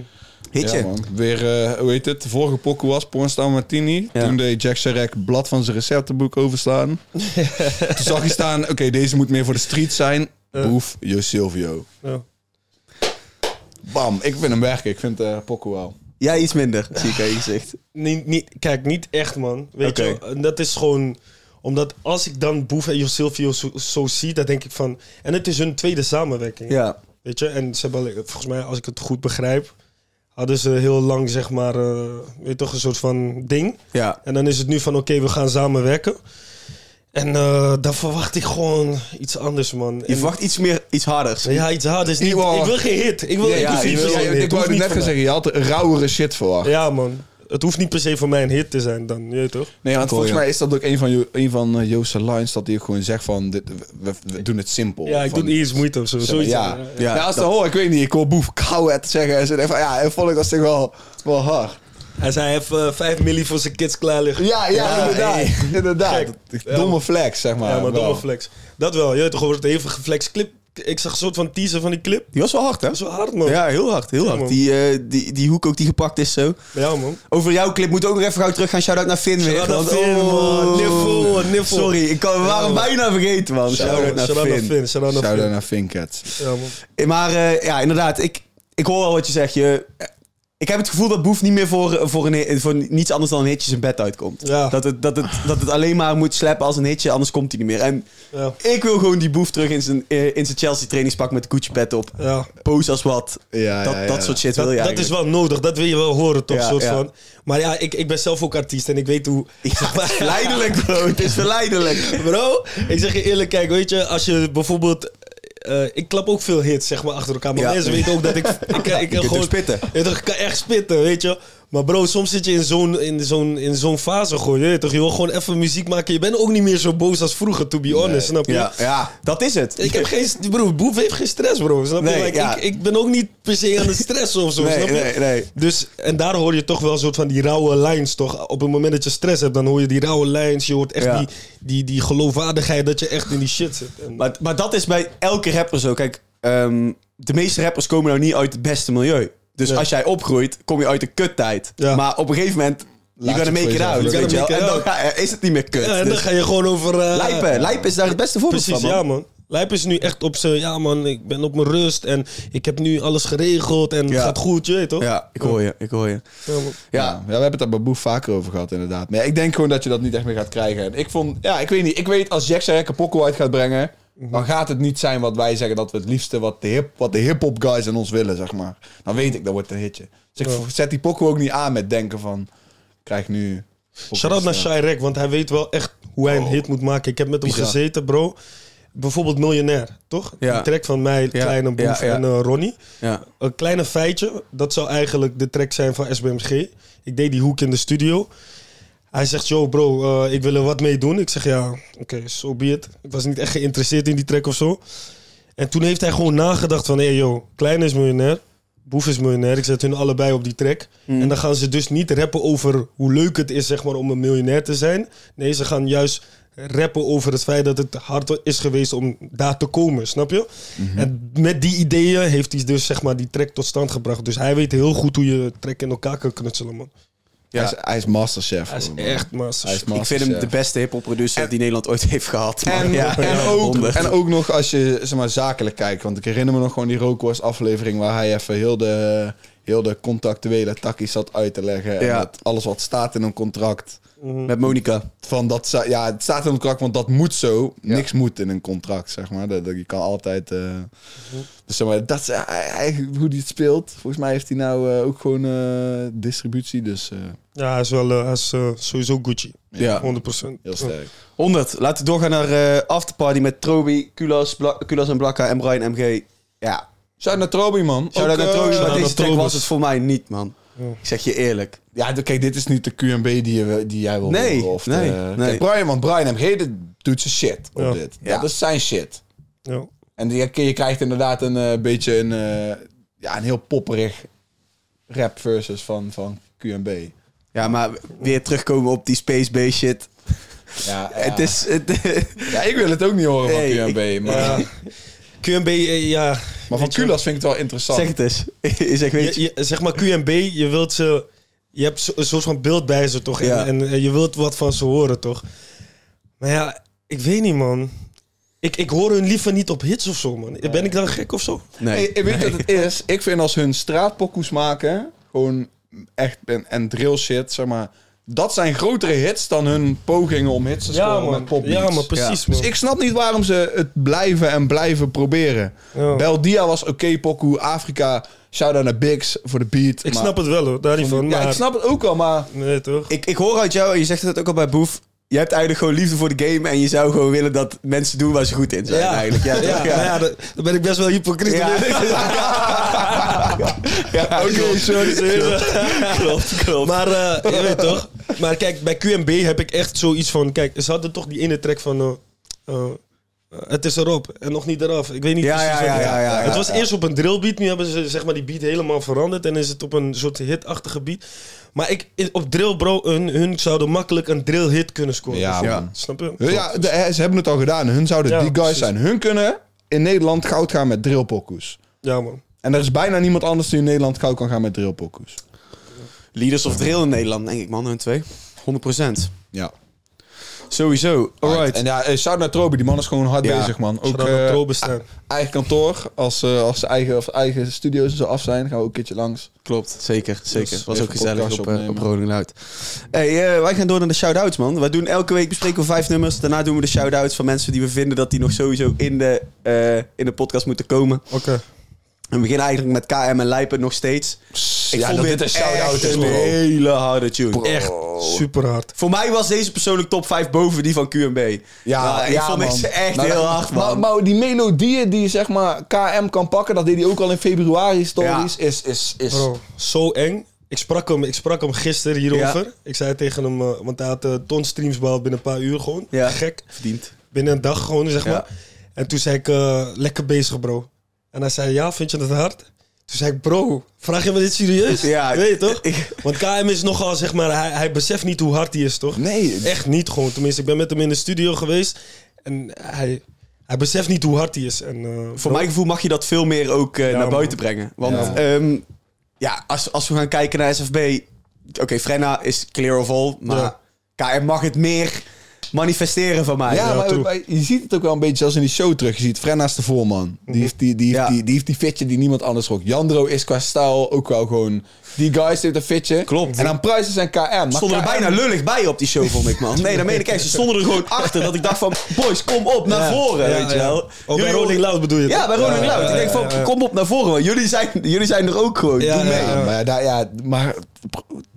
[SPEAKER 3] Hitje.
[SPEAKER 2] Ja, man. Weer, eh, hoe heet het? De vorige pokken was Pornstar Martini.
[SPEAKER 3] Ja.
[SPEAKER 2] Toen deed Jack Sharek blad van zijn receptenboek overslaan. Toen zag hij staan, oké, deze moet meer voor de street zijn. Boef, Yo Silvio.
[SPEAKER 1] Ja.
[SPEAKER 2] Bam, ik vind hem werken. Ik vind eh pokken wel.
[SPEAKER 3] Ja, iets minder, zie ik aan je gezicht.
[SPEAKER 1] Niet, niet, kijk, niet echt, man. Weet
[SPEAKER 3] Oké.
[SPEAKER 1] je, en dat is gewoon omdat als ik dan Boef en Josilvio zo, zo zie, dan denk ik van. En het is hun tweede samenwerking.
[SPEAKER 3] Ja.
[SPEAKER 1] Weet je, en ze hebben, volgens mij, als ik het goed begrijp, hadden ze heel lang, zeg maar, eh, weet je toch, een soort van ding.
[SPEAKER 3] Ja.
[SPEAKER 1] En dan is het nu van, oké, we gaan samenwerken. En eh, dan verwacht ik gewoon iets anders, man.
[SPEAKER 3] Je
[SPEAKER 1] En-
[SPEAKER 3] verwacht iets meer, iets harders.
[SPEAKER 1] ja, iets harders. Niet,
[SPEAKER 2] Jawel.
[SPEAKER 1] ik wil geen hit. Ik wil
[SPEAKER 3] Ja,
[SPEAKER 1] ik
[SPEAKER 3] ja,
[SPEAKER 1] hoef
[SPEAKER 3] je
[SPEAKER 1] niet
[SPEAKER 3] wil-
[SPEAKER 1] per se een hit. Hoeft
[SPEAKER 2] ik wou het
[SPEAKER 1] niet
[SPEAKER 2] net
[SPEAKER 1] voor
[SPEAKER 2] gaan zeggen, je had rauwere shit verwacht.
[SPEAKER 1] mij. Ja, man. Het hoeft niet per se voor mij een hit te zijn dan, je weet toch?
[SPEAKER 2] Nee, want
[SPEAKER 3] Cool,
[SPEAKER 2] volgens
[SPEAKER 3] ja.
[SPEAKER 2] mij is dat ook een van, Jo- een van eh, Joost's lines, dat hij ook gewoon zegt van, dit, we- we, we doen het simpel.
[SPEAKER 1] Ja, ik
[SPEAKER 2] Van-
[SPEAKER 1] doe niet eens moeite of zo.
[SPEAKER 2] Zeg maar,
[SPEAKER 1] Zoiets.
[SPEAKER 2] ja.
[SPEAKER 1] ja.
[SPEAKER 2] Ja, als dan hoor, ik weet niet, ik hoor boef kou het zeggen. En ze denken van, ja, en vond ik dat toch wel, wel hard.
[SPEAKER 1] Hij zei, hij heeft eh, 5 milli voor zijn kids klaar liggen.
[SPEAKER 2] Ja, ja, inderdaad. inderdaad.
[SPEAKER 1] Gek.
[SPEAKER 2] Domme flex, zeg maar.
[SPEAKER 1] Ja, maar
[SPEAKER 2] wel.
[SPEAKER 1] domme flex. Dat wel. Je weet toch, wordt het even geflex. Clip. Ik zag een soort van teaser van die clip.
[SPEAKER 3] Die was wel hard, hè?
[SPEAKER 1] Dat is wel hard, man. Ja,
[SPEAKER 3] Ja, heel hard, heel hard.
[SPEAKER 1] man.
[SPEAKER 3] Die, eh, die, die hoek ook die gepakt is zo.
[SPEAKER 1] man.
[SPEAKER 3] Over jouw clip moeten we ook nog even gauw terug gaan. Shout-out naar Finn weer.
[SPEAKER 1] Shout-out
[SPEAKER 3] want- Oh.
[SPEAKER 1] naar Finn, man. Niffel, niffel.
[SPEAKER 3] Sorry, ik kan, we waren
[SPEAKER 1] Ja, man.
[SPEAKER 3] bijna vergeten, man. Shout-out
[SPEAKER 1] Shout-out
[SPEAKER 3] naar
[SPEAKER 1] shout-out naar
[SPEAKER 3] Finn.
[SPEAKER 1] Finn. Shout-out naar
[SPEAKER 2] Shout-out
[SPEAKER 1] Finn.
[SPEAKER 2] naar Finkets.
[SPEAKER 1] Ja, man.
[SPEAKER 3] Eh, Maar eh, ja, inderdaad, ik, ik hoor wel wat je zegt. Je, eh, ik heb het gevoel dat Boef niet meer voor, voor, een, hit- voor niets anders dan een hitje zijn bed uitkomt.
[SPEAKER 1] Ja.
[SPEAKER 3] Dat, het, dat, het, dat het alleen maar moet slappen als een hitje, anders komt hij niet meer. En
[SPEAKER 1] Ja.
[SPEAKER 3] ik wil gewoon die Boef terug in zijn, eh, in zijn Chelsea trainingspak met de Gucci pet op.
[SPEAKER 1] Ja.
[SPEAKER 3] Pose als wat.
[SPEAKER 2] Ja,
[SPEAKER 3] dat,
[SPEAKER 2] ja,
[SPEAKER 3] dat
[SPEAKER 2] ja.
[SPEAKER 3] soort shit
[SPEAKER 1] Dat,
[SPEAKER 3] wil je
[SPEAKER 1] dat is
[SPEAKER 3] eigenlijk.
[SPEAKER 1] wel nodig, dat wil je wel horen toch?
[SPEAKER 3] Ja,
[SPEAKER 1] soort
[SPEAKER 3] ja.
[SPEAKER 1] Van. Maar ja, ik, ik ben zelf ook artiest en ik weet hoe. zeg maar-
[SPEAKER 3] Verleidelijk, bro. Het is verleidelijk.
[SPEAKER 1] Bro, ik zeg je eerlijk, kijk, weet je, als je bijvoorbeeld. eh, ik klap ook veel hits, zeg maar, achter elkaar. Maar
[SPEAKER 3] Ja.
[SPEAKER 1] mensen weten ook dat ik... Ik, ik, ik
[SPEAKER 3] kunt ook spitten.
[SPEAKER 1] Ja, toch, ik kan echt spitten, weet je. Maar bro, soms zit je in zo'n in zo'n in zo'n fase gewoon, je weet toch. Je wil gewoon even muziek maken. Je bent ook niet meer zo boos als vroeger, to be honest, snap je?
[SPEAKER 3] Ja, ja, dat is het.
[SPEAKER 1] Ik heb geen... Bro, Boef heeft geen stress, bro, snap
[SPEAKER 3] Nee,
[SPEAKER 1] je? Like,
[SPEAKER 3] ja.
[SPEAKER 1] ik, ik ben ook niet per se aan het stressen of zo,
[SPEAKER 3] Nee,
[SPEAKER 1] snap je?
[SPEAKER 3] nee, nee.
[SPEAKER 1] Dus, en daar hoor je toch wel een soort van die rauwe lijns, toch? Op het moment dat je stress hebt, dan hoor je die rauwe lijns. Je hoort echt
[SPEAKER 3] Ja.
[SPEAKER 1] die, die, die geloofwaardigheid dat je echt in die shit zit. En-
[SPEAKER 3] Maar, maar dat is bij elke rapper zo. Kijk, ehm, de meeste rappers komen nou niet uit het beste milieu. Dus
[SPEAKER 1] Nee.
[SPEAKER 3] als jij opgroeit, kom je uit de kuttijd.
[SPEAKER 1] Ja.
[SPEAKER 3] Maar op een gegeven moment, you
[SPEAKER 2] Laat
[SPEAKER 3] gotta
[SPEAKER 2] je
[SPEAKER 3] make
[SPEAKER 2] voor
[SPEAKER 3] it
[SPEAKER 2] jezelf
[SPEAKER 3] out.
[SPEAKER 2] lukken.
[SPEAKER 3] Weet je wel?
[SPEAKER 1] You
[SPEAKER 3] En
[SPEAKER 1] gotta
[SPEAKER 3] dan
[SPEAKER 1] make
[SPEAKER 3] ga- eh, is het niet meer kut.
[SPEAKER 1] ja, en dan
[SPEAKER 3] Dus
[SPEAKER 1] ga je gewoon over... eh,
[SPEAKER 3] Lijpen. Lijpen is daar het beste voorbeeld
[SPEAKER 1] Precies,
[SPEAKER 3] van. man.
[SPEAKER 1] ja man. Lijp is nu echt op zijn... Ja man, ik ben op mijn rust en ik heb nu alles geregeld en
[SPEAKER 3] Ja.
[SPEAKER 1] het gaat goed, je weet toch?
[SPEAKER 3] Ja, ik hoor je, ik hoor je.
[SPEAKER 1] Ja, man.
[SPEAKER 2] Ja.
[SPEAKER 3] Ja,
[SPEAKER 2] ja, we hebben het daar bij Boef vaker over gehad, inderdaad. Maar ja, ik denk gewoon dat je dat niet echt meer gaat krijgen. En ik vond, ja, ik weet niet. Ik weet, als Jack zijn een pokkel uit gaat brengen,
[SPEAKER 1] Mhm.
[SPEAKER 2] dan gaat het niet zijn wat wij zeggen dat we het liefste wat de, hip, wat de hip-hop guys in ons willen, zeg maar. Dan weet ik, dat wordt een hitje. Dus ik v- zet die pokkel ook niet aan met denken van, krijg nu
[SPEAKER 1] Shout-out naar Shirek, want hij weet wel echt hoe hij een
[SPEAKER 3] Oh.
[SPEAKER 1] hit moet maken. Ik heb met hem
[SPEAKER 2] bizar.
[SPEAKER 1] gezeten, bro. Bijvoorbeeld Miljonair, toch?
[SPEAKER 3] Ja.
[SPEAKER 1] Die track van mij, Kleine Boef
[SPEAKER 3] ja, ja.
[SPEAKER 1] en eh, Ronnie.
[SPEAKER 3] Ja.
[SPEAKER 1] Een kleine feitje, dat zou eigenlijk de track zijn van SBMG. Ik deed die hoek in de studio. Hij zegt, yo bro, eh, ik wil er wat mee doen. Ik zeg, ja, oké, so be it. Ik was niet echt geïnteresseerd in die track of zo. En toen heeft hij gewoon nagedacht van, hé hey, yo, Klein is miljonair, Boef is miljonair. Ik zet hun allebei op die track.
[SPEAKER 2] Hmm.
[SPEAKER 1] En dan gaan ze dus niet rappen over hoe leuk het is zeg maar, om een miljonair te zijn. Nee, ze gaan juist rappen over het feit dat het hard is geweest om daar te komen, snap je?
[SPEAKER 2] Mhm.
[SPEAKER 1] En met die ideeën heeft hij dus zeg maar, die track tot stand gebracht. Dus hij weet heel goed hoe je track in elkaar kan knutselen, man.
[SPEAKER 2] Hij, is, hij is masterchef.
[SPEAKER 1] Hij is
[SPEAKER 2] gewoon, man.
[SPEAKER 1] echt
[SPEAKER 2] Mhm. Hij is
[SPEAKER 1] master.
[SPEAKER 3] Ik vind hem de
[SPEAKER 2] masterchef.
[SPEAKER 3] beste hip-hop producer die Nederland ooit heeft gehad. man.
[SPEAKER 2] En,
[SPEAKER 3] ja,
[SPEAKER 2] en,
[SPEAKER 3] ja,
[SPEAKER 2] ook,
[SPEAKER 3] honderd.
[SPEAKER 2] en ook nog als je zeg maar, zakelijk kijkt. Want ik herinner me nog gewoon die Rookworst aflevering... waar hij even heel de, heel de contractuele takkies zat uit te leggen. En
[SPEAKER 3] Ja.
[SPEAKER 2] dat alles wat staat in een contract...
[SPEAKER 3] met Monica.
[SPEAKER 2] Van dat, za- ja, het staat in een contract, want dat moet zo. Niks moet in een contract, zeg maar. Dat, dat- je kan altijd... eh, dus zeg maar, dat is eh, eigenlijk hoe die het speelt. Volgens mij heeft hij nou eh, ook gewoon eh, distributie, dus eh,
[SPEAKER 1] Ja, hij is wel, eh, hij is eh, sowieso Gucci.
[SPEAKER 3] Ja.
[SPEAKER 1] 100%.
[SPEAKER 3] Oh.
[SPEAKER 2] heel sterk.
[SPEAKER 3] 100. Laten we doorgaan naar eh afterparty met Trobi, Kulas, Bla- Kulas en Blakka en Brian MG. Ja,
[SPEAKER 2] Shout naar Trobi, man.
[SPEAKER 3] shout-out
[SPEAKER 2] Ook,
[SPEAKER 3] naar
[SPEAKER 2] eh,
[SPEAKER 3] Trobi, maar
[SPEAKER 1] shout-out
[SPEAKER 3] deze
[SPEAKER 1] naar
[SPEAKER 3] track
[SPEAKER 1] Trobus.
[SPEAKER 3] was het voor mij niet, man. Ik zeg je eerlijk.
[SPEAKER 2] Ja, d- kijk, dit is niet de QMB die, je, die jij wil
[SPEAKER 3] Nee,
[SPEAKER 2] horen. Of de-
[SPEAKER 3] nee,
[SPEAKER 2] Kijk,
[SPEAKER 3] nee.
[SPEAKER 2] Brian, want Brian MG dit doet zijn shit op
[SPEAKER 1] Ja.
[SPEAKER 2] dit.
[SPEAKER 3] Ja.
[SPEAKER 2] Dat is zijn shit.
[SPEAKER 1] Ja.
[SPEAKER 2] En die, je krijgt inderdaad een eh, beetje een, eh, ja, een heel popperig rap versus van, van QMB.
[SPEAKER 3] Ja, maar weer terugkomen op die Space Base shit.
[SPEAKER 2] Ja, ja.
[SPEAKER 3] Het is... Het,
[SPEAKER 2] ja, ik wil het ook niet horen van
[SPEAKER 3] Nee,
[SPEAKER 2] QMB. maar,
[SPEAKER 1] QMB, eh, ja.
[SPEAKER 2] maar van
[SPEAKER 1] Weet je-
[SPEAKER 2] Kulas vind ik het wel interessant.
[SPEAKER 3] zeg het eens. Ik zeg, weet je...
[SPEAKER 1] Je, je- zeg maar QMB, je wilt ze... Je hebt zo- een soort van beeld bij ze, toch? En-
[SPEAKER 3] Ja.
[SPEAKER 1] En, eh, je wilt wat van ze horen, toch? Maar ja, ik weet niet, man. Ik, ik hoor hun liever niet op hits of zo, man. Ben ik dan gek of zo?
[SPEAKER 2] Hey,
[SPEAKER 3] Nee.
[SPEAKER 2] ik weet wat het is. Ik vind als hun straatpokkoes maken, gewoon echt en, en drill shit, zeg maar. Dat zijn grotere hits dan hun pogingen om hits te scoren met popbeats.
[SPEAKER 1] Ja, man, precies,
[SPEAKER 2] Dus
[SPEAKER 1] man.
[SPEAKER 2] ik snap niet waarom ze het blijven en blijven proberen.
[SPEAKER 1] Ja.
[SPEAKER 2] Beldia was oké, pokoe. Afrika, shout-out naar Biggs voor de beat.
[SPEAKER 1] Ik snap het wel, hoor. Daar niet van.
[SPEAKER 2] Ja,
[SPEAKER 1] maar-
[SPEAKER 2] ik snap het ook al, maar...
[SPEAKER 1] Nee, toch?
[SPEAKER 3] Ik, ik hoor uit jou, en je zegt het ook al bij Boef... Je hebt eigenlijk gewoon liefde voor de game en je zou gewoon willen dat mensen doen waar ze goed in zijn. Eigenlijk. Ja,
[SPEAKER 1] ja,
[SPEAKER 3] toch?
[SPEAKER 1] maar ja,
[SPEAKER 3] ja.
[SPEAKER 1] dan dan ben ik best wel hypocriet.
[SPEAKER 3] Ja. Ja,
[SPEAKER 1] Oké, Oh, sorry, sorry.
[SPEAKER 3] klopt, klopt.
[SPEAKER 1] Maar eh, je weet toch? Maar kijk, bij QMB heb ik echt zoiets van... Kijk, ze hadden toch die ene track van... eh, eh, het is erop en nog niet eraf. Ik weet niet
[SPEAKER 3] Ja,
[SPEAKER 1] precies
[SPEAKER 3] ja,
[SPEAKER 1] wat
[SPEAKER 3] ja,
[SPEAKER 1] het-
[SPEAKER 3] ja, ja, ja,
[SPEAKER 1] Het was
[SPEAKER 3] ja.
[SPEAKER 1] eerst op een drillbeat. Nu hebben ze zeg maar, die beat helemaal veranderd. En is het op een soort hitachtige beat. Maar ik, in- op drill, bro, hun, hun zouden makkelijk een drillhit kunnen scoren.
[SPEAKER 2] Ja,
[SPEAKER 3] Ja.
[SPEAKER 2] man.
[SPEAKER 1] Snap je?
[SPEAKER 2] Ja, de- hè, ze hebben het al gedaan. Hun zouden
[SPEAKER 1] Ja,
[SPEAKER 2] die guys
[SPEAKER 1] precies.
[SPEAKER 2] zijn. Hun kunnen in Nederland goud gaan met drillpokkoes.
[SPEAKER 1] Ja, man.
[SPEAKER 2] En er is bijna niemand anders die in Nederland goud kan gaan met drillpokkoes.
[SPEAKER 3] Leaders of drill in Nederland, denk ik, man, hun twee. 100%.
[SPEAKER 2] Ja.
[SPEAKER 3] Sowieso. Alright.
[SPEAKER 2] En ja, eh, shout naar Trobi. Die man is gewoon hard
[SPEAKER 3] Ja.
[SPEAKER 2] bezig, man. Ook
[SPEAKER 1] Zodat er
[SPEAKER 2] eh,
[SPEAKER 1] troben staan.
[SPEAKER 2] eigen kantoor. Als, eh, als ze eigen, of eigen studio's en zo af zijn, gaan we ook een keertje langs.
[SPEAKER 3] Klopt, zeker. zeker.
[SPEAKER 2] Dus
[SPEAKER 3] was
[SPEAKER 2] even
[SPEAKER 3] ook gezellig
[SPEAKER 2] podcast
[SPEAKER 3] op, eh,
[SPEAKER 2] opnemen.
[SPEAKER 3] op Rolling Loud. Hey, eh, wij gaan door naar de shout-outs, man. Wij doen elke week bespreken we vijf nummers. Daarna doen we de shout-outs van mensen die we vinden dat die nog sowieso in de, eh, in de podcast moeten komen.
[SPEAKER 1] Oké.
[SPEAKER 3] We beginnen eigenlijk met KM en Lijpen nog steeds. Ik
[SPEAKER 2] ja, dat dit een shout-out
[SPEAKER 3] echt
[SPEAKER 2] is,
[SPEAKER 3] een
[SPEAKER 2] bro.
[SPEAKER 3] hele harde tune.
[SPEAKER 1] Echt super hard.
[SPEAKER 3] Voor mij was deze persoonlijk top 5 boven die van QMB. Ja, ik vond
[SPEAKER 2] man.
[SPEAKER 3] deze echt
[SPEAKER 2] Nou,
[SPEAKER 3] heel
[SPEAKER 2] dat-
[SPEAKER 3] hard, man.
[SPEAKER 2] Maar, maar die melodieën die zeg maar KM kan pakken, dat deed hij ook al in februari stories, is, is, is...
[SPEAKER 1] Bro, zo eng. Ik sprak hem, ik sprak hem gisteren hierover. Ik zei tegen hem, eh, want hij had eh, ton streams behaald binnen een paar uur gewoon.
[SPEAKER 3] Ja.
[SPEAKER 1] Gek.
[SPEAKER 3] Verdiend.
[SPEAKER 1] Binnen een dag gewoon, zeg
[SPEAKER 3] Ja.
[SPEAKER 1] maar. En toen zei ik, eh, lekker bezig bro. En hij zei, ja, vind je dat hard? Toen zei ik, bro, vraag je me dit serieus?
[SPEAKER 3] Ja,
[SPEAKER 1] Je Weet je toch?
[SPEAKER 3] ik-
[SPEAKER 1] Want KM is nogal, zeg maar, hij, hij beseft niet hoe hard hij is, toch?
[SPEAKER 2] Nee.
[SPEAKER 1] Echt niet gewoon. Tenminste, ik ben met hem in de studio geweest. En hij, hij beseft niet hoe hard hij is. En, eh,
[SPEAKER 3] Voor mijn gevoel mag je dat veel meer ook eh, naar
[SPEAKER 1] man.
[SPEAKER 3] buiten brengen. Want
[SPEAKER 2] Ja.
[SPEAKER 3] ja, ja als, als we gaan kijken naar SFB... Oké, Frenna is clear of all, maar KM mag het meer manifesteren van mij.
[SPEAKER 2] Ja,
[SPEAKER 1] Ja,
[SPEAKER 2] maar,
[SPEAKER 1] true.
[SPEAKER 2] maar je ziet het ook wel een beetje als in die show terug. Je ziet Frenna's de voorman. Die heeft die, die, heeft
[SPEAKER 3] Mhm. Ja.
[SPEAKER 2] die, die, heeft die fitje die niemand anders rokt. Jandro is qua stijl ook wel gewoon... Die guys heeft een fitje.
[SPEAKER 3] Klopt.
[SPEAKER 2] En dan prijzen zijn KM. Maar
[SPEAKER 3] stonden er
[SPEAKER 2] KM
[SPEAKER 3] bijna lullig bij op die show, vond ik, man. Nee, dan meen ik echt. Ze stonden er gewoon achter. Dat ik dacht van, boys, kom op naar voren,
[SPEAKER 1] Ja,
[SPEAKER 3] weet je
[SPEAKER 1] ja.
[SPEAKER 3] wel.
[SPEAKER 1] Oh, bij Rolling Loud bedoel je
[SPEAKER 3] Ja,
[SPEAKER 1] toch?
[SPEAKER 3] bij
[SPEAKER 1] Ja,
[SPEAKER 3] Rolling Loud.
[SPEAKER 1] ja,
[SPEAKER 3] ik denk
[SPEAKER 1] ja,
[SPEAKER 3] van,
[SPEAKER 1] ja.
[SPEAKER 3] kom op naar voren. man. Jullie zijn, jullie zijn er ook gewoon.
[SPEAKER 1] Ja,
[SPEAKER 3] Doe
[SPEAKER 1] ja,
[SPEAKER 3] mee.
[SPEAKER 1] ja.
[SPEAKER 2] Ja, maar, daar, ja, maar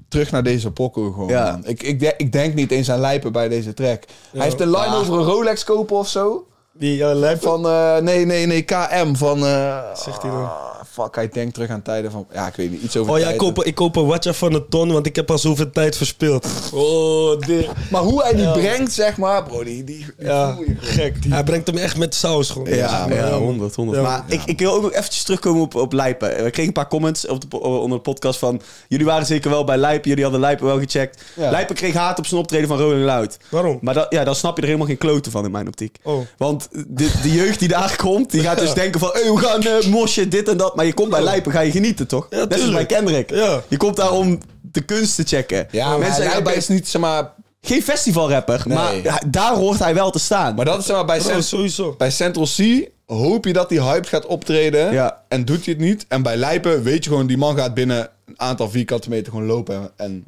[SPEAKER 2] terug naar deze pokko gewoon.
[SPEAKER 3] Ja.
[SPEAKER 2] man. Ik, ik, de- ik denk niet eens aan lijpen bij deze track. Hij heeft een line over een Rolex kopen of zo.
[SPEAKER 1] Die eh, lijp van...
[SPEAKER 2] Van, eh, nee, nee, nee, KM. Van, eh,
[SPEAKER 1] Zegt hij dan.
[SPEAKER 2] ah, fuck, hij denkt terug aan tijden van... Ja, ik weet niet, iets over
[SPEAKER 1] Oh ja, ik
[SPEAKER 2] tijden.
[SPEAKER 1] koop, ik koop een watje van een ton, want ik heb al zoveel tijd verspild. Oh, dit.
[SPEAKER 2] Maar hoe hij die brengt, zeg maar, bro, die... die, die
[SPEAKER 1] Ja,
[SPEAKER 2] voel je gewoon.
[SPEAKER 1] gek. Hij brengt hem echt met saus gewoon.
[SPEAKER 3] Ja, ja,
[SPEAKER 1] man.
[SPEAKER 3] 100, 100.
[SPEAKER 1] ehm, Ja.
[SPEAKER 3] Maar Ik, ik wil ook nog eventjes terugkomen op, op Lijpen. We kregen een paar comments op de, po- onder de podcast van... Jullie waren zeker wel bij Lijpen, jullie hadden Lijpen wel gecheckt.
[SPEAKER 2] Ja.
[SPEAKER 3] Lijpen kreeg haat op zijn optreden van Rolling Loud.
[SPEAKER 1] Waarom?
[SPEAKER 3] Maar dat, ja, dan snap je er helemaal geen kloten van in mijn optiek.
[SPEAKER 1] Oh.
[SPEAKER 3] Want de, de jeugd die daar komt, die gaat dus denken van... Hey, we gaan eh mosje, dit en dat. Maar je komt bij Lijpen, ga je genieten, toch?
[SPEAKER 1] Ja,
[SPEAKER 3] Net als bij
[SPEAKER 1] tuurlijk.
[SPEAKER 3] Kendrick.
[SPEAKER 1] Ja.
[SPEAKER 3] Je komt daar om de kunst te checken.
[SPEAKER 2] Ja, maar
[SPEAKER 3] Mensen
[SPEAKER 2] Mensen
[SPEAKER 3] zeggen,
[SPEAKER 2] hij is niet, zeg maar...
[SPEAKER 3] Geen festivalrapper, maar ja, daar hoort hij wel te staan.
[SPEAKER 2] Maar dat is zeg maar bij,
[SPEAKER 1] Bro,
[SPEAKER 2] Cent-
[SPEAKER 1] sowieso.
[SPEAKER 2] bij Central C... Hoop je dat die hype gaat optreden
[SPEAKER 3] Ja.
[SPEAKER 2] en doet hij het niet. En bij Lijpen weet je gewoon, die man gaat binnen een aantal vierkante meter gewoon lopen en, en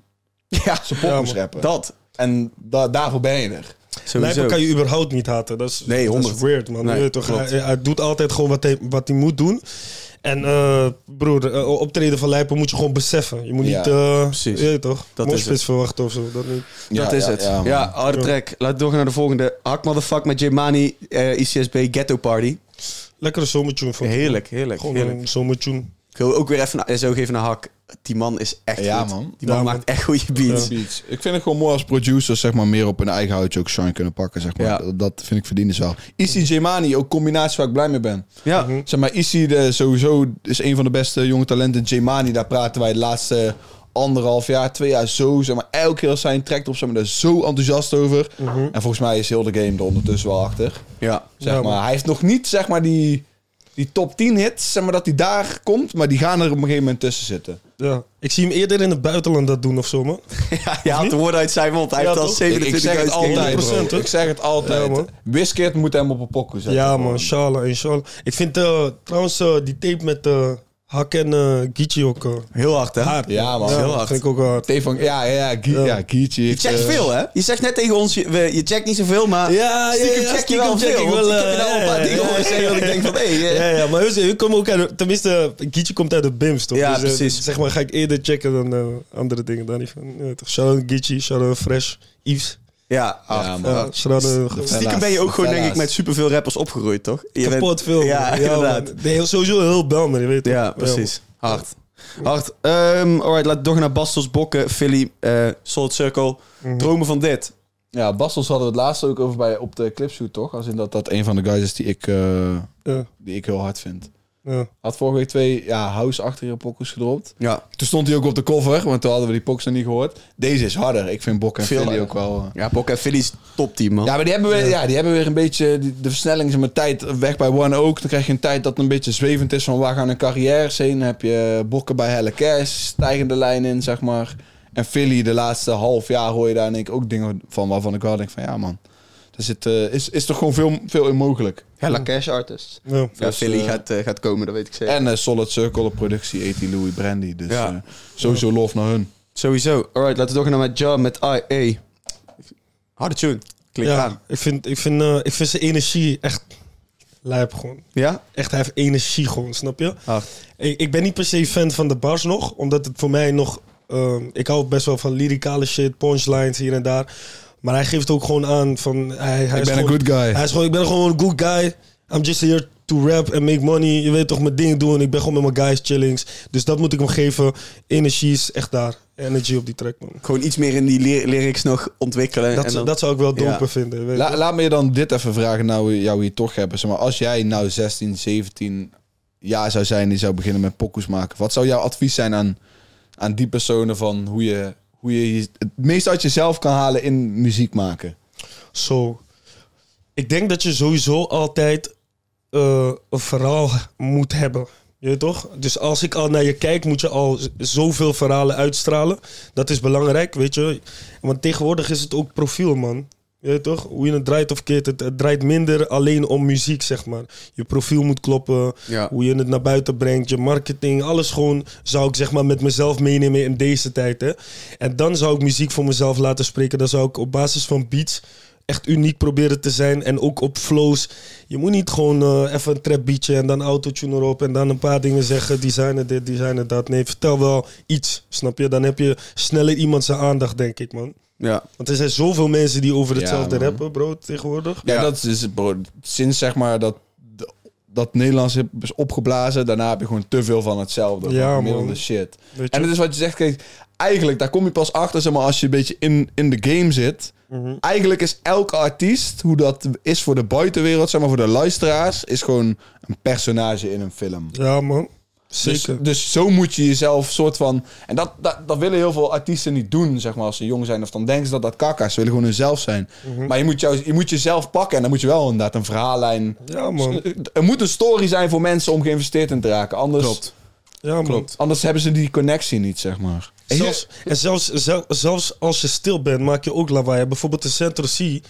[SPEAKER 3] ja,
[SPEAKER 2] zijn pop moest rappen.
[SPEAKER 3] dat.
[SPEAKER 2] En da- daarvoor ben je er.
[SPEAKER 3] Sowieso.
[SPEAKER 1] Lijpen kan je überhaupt niet haten. Dat is,
[SPEAKER 3] Nee,
[SPEAKER 1] dat is
[SPEAKER 3] honderd.
[SPEAKER 1] weird, man.
[SPEAKER 3] Nee,
[SPEAKER 1] Je weet toch,
[SPEAKER 3] klopt.
[SPEAKER 1] hij, hij doet altijd gewoon wat hij, wat hij moet doen. En eh, broer, eh, optreden van Lijpen moet je gewoon beseffen. Je moet
[SPEAKER 2] Ja,
[SPEAKER 1] niet, eh
[SPEAKER 3] precies.
[SPEAKER 1] je weet toch,
[SPEAKER 3] Dat is
[SPEAKER 1] moshpits
[SPEAKER 3] het.
[SPEAKER 1] verwachten of zo. Dat niet.
[SPEAKER 3] dat
[SPEAKER 2] Ja,
[SPEAKER 3] is
[SPEAKER 2] ja,
[SPEAKER 3] het.
[SPEAKER 2] ja,
[SPEAKER 3] Ja,
[SPEAKER 2] man.
[SPEAKER 3] harde track. Laten we doorgaan naar de volgende. Hak motherfuck met Jemani, eh ICSB Ghetto Party.
[SPEAKER 1] Lekkere zomertune. vond ik.
[SPEAKER 3] Heerlijk, heerlijk,
[SPEAKER 1] Gewoon
[SPEAKER 3] heerlijk.
[SPEAKER 1] een zomertune.
[SPEAKER 3] Ik wil ook weer even naar SO geven naar Hak. Die man is echt
[SPEAKER 2] Ja,
[SPEAKER 3] goed.
[SPEAKER 2] man.
[SPEAKER 3] Die man
[SPEAKER 1] Ja, man.
[SPEAKER 3] maakt echt goede beats.
[SPEAKER 2] Beats. Ik vind het gewoon mooi als producers zeg maar, meer op hun eigen houtje ook shine kunnen pakken. Zeg maar.
[SPEAKER 3] Ja.
[SPEAKER 2] dat, dat vind ik verdienen wel. Issy Jemani, ook combinatie waar ik blij mee ben.
[SPEAKER 3] Ja.
[SPEAKER 1] Mhm.
[SPEAKER 2] Zeg maar, Issy de, sowieso is een van de beste jonge talenten. Jemani, daar praten wij de laatste anderhalf jaar, twee jaar zo. Zeg maar, elke keer als hij een track op zijn we daar zo enthousiast over.
[SPEAKER 1] Mhm.
[SPEAKER 2] En volgens mij is heel de game er ondertussen wel achter.
[SPEAKER 3] Ja.
[SPEAKER 2] Zeg
[SPEAKER 1] Ja, man.
[SPEAKER 2] maar. Hij heeft nog niet zeg maar, die, die top 10 hits, zeg maar, dat hij daar komt. Maar die gaan er op een gegeven moment tussen zitten.
[SPEAKER 1] Ja. Ik zie hem eerder in het buitenland dat doen of zo, man.
[SPEAKER 3] ja. Je haalt de woorden uit zijn mond. Hij
[SPEAKER 1] Ja,
[SPEAKER 3] heeft al
[SPEAKER 1] toch?
[SPEAKER 2] Ik, ik zeg het
[SPEAKER 3] 27.000
[SPEAKER 2] altijd,
[SPEAKER 3] keer.
[SPEAKER 2] bro.
[SPEAKER 1] 100%, hè?
[SPEAKER 2] Ik zeg het
[SPEAKER 1] Ja,
[SPEAKER 2] altijd.
[SPEAKER 1] man.
[SPEAKER 2] Wiskit moet hem op een pokken zetten.
[SPEAKER 1] Ja, man,
[SPEAKER 2] gewoon.
[SPEAKER 1] inshallah, inshallah. Ik vind eh, trouwens eh, die tape met eh, Hak en eh Geechee ook eh,
[SPEAKER 3] Heel hard, hè?
[SPEAKER 1] hard.
[SPEAKER 2] Ja, man. Heel
[SPEAKER 1] Dat vind ik ook hard.
[SPEAKER 2] Stefan, ja, ja, ja, Gie- ja. Gietje
[SPEAKER 3] Je
[SPEAKER 2] heeft,
[SPEAKER 3] checkt
[SPEAKER 2] eh,
[SPEAKER 3] veel, hè? Je zegt net tegen ons, je, we- je checkt niet zoveel, maar
[SPEAKER 1] Ja,
[SPEAKER 3] stiekem
[SPEAKER 1] ja, ja,
[SPEAKER 3] check je
[SPEAKER 1] stiekem
[SPEAKER 3] wel
[SPEAKER 1] check
[SPEAKER 3] veel.
[SPEAKER 1] ik
[SPEAKER 3] want
[SPEAKER 1] wel,
[SPEAKER 3] ik heb je nou al een
[SPEAKER 1] eh,
[SPEAKER 3] paar dingen
[SPEAKER 1] ja,
[SPEAKER 3] horen
[SPEAKER 1] ja,
[SPEAKER 3] zeggen dat ik denk van, hé, hey, eh,
[SPEAKER 1] Ja, ja, maar hun, hun komen ook uit... Tenminste, Gietje komt uit de BIMS, toch?
[SPEAKER 3] Ja,
[SPEAKER 1] eh,
[SPEAKER 3] precies.
[SPEAKER 1] Zeg maar, ga ik eerder checken dan eh, andere dingen daar niet van. Ja, toch? Shout-out Gietje, shout-out Fresh, Yves.
[SPEAKER 3] Ja, ach,
[SPEAKER 2] Ja, man.
[SPEAKER 1] Ja, shout-out... eh,
[SPEAKER 2] De
[SPEAKER 1] gewoon
[SPEAKER 2] fella's,
[SPEAKER 3] Stiekem ben je ook
[SPEAKER 2] de
[SPEAKER 3] gewoon, denk ik,
[SPEAKER 2] fella's.
[SPEAKER 3] met superveel rappers opgeroeid, toch? Je bent-
[SPEAKER 1] kapot veel.
[SPEAKER 3] Ja,
[SPEAKER 1] man.
[SPEAKER 3] inderdaad.
[SPEAKER 1] man. Nee, sowieso heel Belmer, je weet toch?
[SPEAKER 3] Ja, precies. Hard. Hard. Ehm alright, laten we doorgaan naar Bastos, Bokken, Philly, eh Solid Circle.
[SPEAKER 1] Mhm.
[SPEAKER 3] Dromen van dit.
[SPEAKER 2] Ja, Bastels hadden we het laatst ook over bij, op de clipshoot, toch? Als in dat dat een van de guys is die ik, eh,
[SPEAKER 1] Ja,
[SPEAKER 2] die ik heel hard vind.
[SPEAKER 1] ja.
[SPEAKER 2] Had vorige week twee ja, house-achtige pokkers gedropt.
[SPEAKER 3] Ja.
[SPEAKER 2] Toen stond hij ook op de cover, want toen hadden we die pokkers nog niet gehoord. Deze is harder. Ik vind Bok en
[SPEAKER 3] Veel
[SPEAKER 2] Philly ook
[SPEAKER 3] harder.
[SPEAKER 2] wel... eh,
[SPEAKER 3] Ja, Bokken en Philly is topteam, man.
[SPEAKER 2] Ja, maar die hebben, weer, ja. die hebben weer een beetje... die- de versnelling is met tijd weg bij One ook. Dan krijg je een tijd dat een beetje zwevend is van waar gaan hun carrières heen. Dan heb je bokken bij Helle Cash, stijgende lijn in, zeg maar. En Philly, de laatste half jaar hoor je daar denk ik ook dingen van waarvan ik wel denk van ja man. Er zit, eh, is, is toch gewoon veel, veel in mogelijk.
[SPEAKER 3] Hella Cash Artist.
[SPEAKER 1] ja.
[SPEAKER 3] Ja,
[SPEAKER 2] Dus,
[SPEAKER 3] Philly
[SPEAKER 2] eh,
[SPEAKER 3] gaat, eh, gaat komen, dat weet ik zeker.
[SPEAKER 2] En eh, Solid Circle, de productie, A.T. Louis Brandy. Dus
[SPEAKER 3] Ja.
[SPEAKER 2] eh, sowieso lof naar hun.
[SPEAKER 3] Sowieso. Alright, laten we doorgaan naar mijn job met IA. Harde tune. Klik
[SPEAKER 1] Ja,
[SPEAKER 3] aan.
[SPEAKER 1] ik vind, ik, vind, eh, ik vind zijn energie echt lijp gewoon.
[SPEAKER 3] Ja?
[SPEAKER 1] Echt, hij heeft energie gewoon, snap je?
[SPEAKER 2] Ah.
[SPEAKER 3] Hard.
[SPEAKER 1] Ik, ik ben niet per se fan van de bars nog, omdat het voor mij nog... ehm, ik hou best wel van lyricale shit, punchlines hier en daar. Maar hij geeft ook gewoon aan van... Hij, hij
[SPEAKER 2] Ik
[SPEAKER 1] is
[SPEAKER 2] ben een
[SPEAKER 1] gewoon-
[SPEAKER 2] good guy.
[SPEAKER 1] Hij is gewoon, ik ben gewoon een good guy. I'm just here to rap and make money. Je weet toch, mijn ding doen. Ik ben gewoon met mijn guys chillings. Dus dat moet ik hem geven. Energie is echt daar. Energy op die track, man.
[SPEAKER 3] Gewoon iets meer in die ly- lyrics nog ontwikkelen.
[SPEAKER 1] Dat,
[SPEAKER 3] en dan-
[SPEAKER 1] dat zou ik wel doper
[SPEAKER 3] Ja.
[SPEAKER 1] vinden. weet je.
[SPEAKER 2] La- laat me je dan dit even vragen, nou we jou hier toch hebben. Zeg maar, als jij nou 16, 17 jaar zou zijn die zou beginnen met pokoes maken. Wat zou jouw advies zijn aan, aan die personen van hoe je, hoe je je- het meest uit jezelf kan halen in muziek maken?
[SPEAKER 1] Zo. Ik denk dat je sowieso altijd eh, een verhaal moet hebben. Je weet toch? Dus als ik al naar je kijk, moet je al z- zoveel verhalen uitstralen. Dat is belangrijk, weet je. Want tegenwoordig is het ook profiel, man. Je weet toch? Hoe je het draait of keert. Het, het draait minder alleen om muziek, zeg maar. Je profiel moet kloppen.
[SPEAKER 3] Ja.
[SPEAKER 1] Hoe je het naar buiten brengt. Je marketing. Alles gewoon zou ik zeg maar met mezelf meenemen in deze tijd. Hè? En dan zou ik muziek voor mezelf laten spreken. Dan zou ik op basis van beats echt uniek proberen te zijn. En ook op flows. Je moet niet gewoon eh, even een trap beatje en dan autotune erop. En dan een paar dingen zeggen. Designen dit, designen dat. Nee, vertel wel iets. Snap je? Dan heb je sneller iemand zijn aandacht, denk ik, man.
[SPEAKER 3] Ja.
[SPEAKER 1] Want er zijn zoveel mensen die over
[SPEAKER 2] Ja,
[SPEAKER 1] hetzelfde
[SPEAKER 2] man.
[SPEAKER 1] rappen, bro, tegenwoordig.
[SPEAKER 2] Ja, dat is bro, sinds zeg maar dat, dat Nederlands hip is opgeblazen. Daarna heb je gewoon te veel van hetzelfde.
[SPEAKER 1] Ja,
[SPEAKER 2] van
[SPEAKER 1] man.
[SPEAKER 2] gemiddelde shit.
[SPEAKER 1] Weet je?
[SPEAKER 2] En het is wat je zegt, kijk, eigenlijk daar kom je pas achter zeg maar, als je een beetje in, in de game zit.
[SPEAKER 1] Mhm.
[SPEAKER 2] Eigenlijk is elke artiest, hoe dat is voor de buitenwereld, zeg maar voor de luisteraars, is gewoon een personage in een film.
[SPEAKER 1] Ja, man.
[SPEAKER 2] Dus,
[SPEAKER 1] Zeker.
[SPEAKER 2] dus zo moet je jezelf soort van. En dat, dat, dat willen heel veel artiesten niet doen, zeg maar, als ze jong zijn. Of dan denken ze dat dat kakka's. Ze willen gewoon hunzelf zijn.
[SPEAKER 1] Mhm.
[SPEAKER 2] Maar je moet, jou, je moet jezelf pakken en dan moet je wel inderdaad een verhaallijn.
[SPEAKER 1] ja, man.
[SPEAKER 2] Er moet een story zijn voor mensen om geïnvesteerd in te raken. Anders,
[SPEAKER 1] Ja, man.
[SPEAKER 2] anders hebben ze die connectie niet, zeg maar.
[SPEAKER 1] En Zelfs, en zelfs, zel- zelfs als je stil bent, maak je ook lawaai. Bijvoorbeeld de Centro C.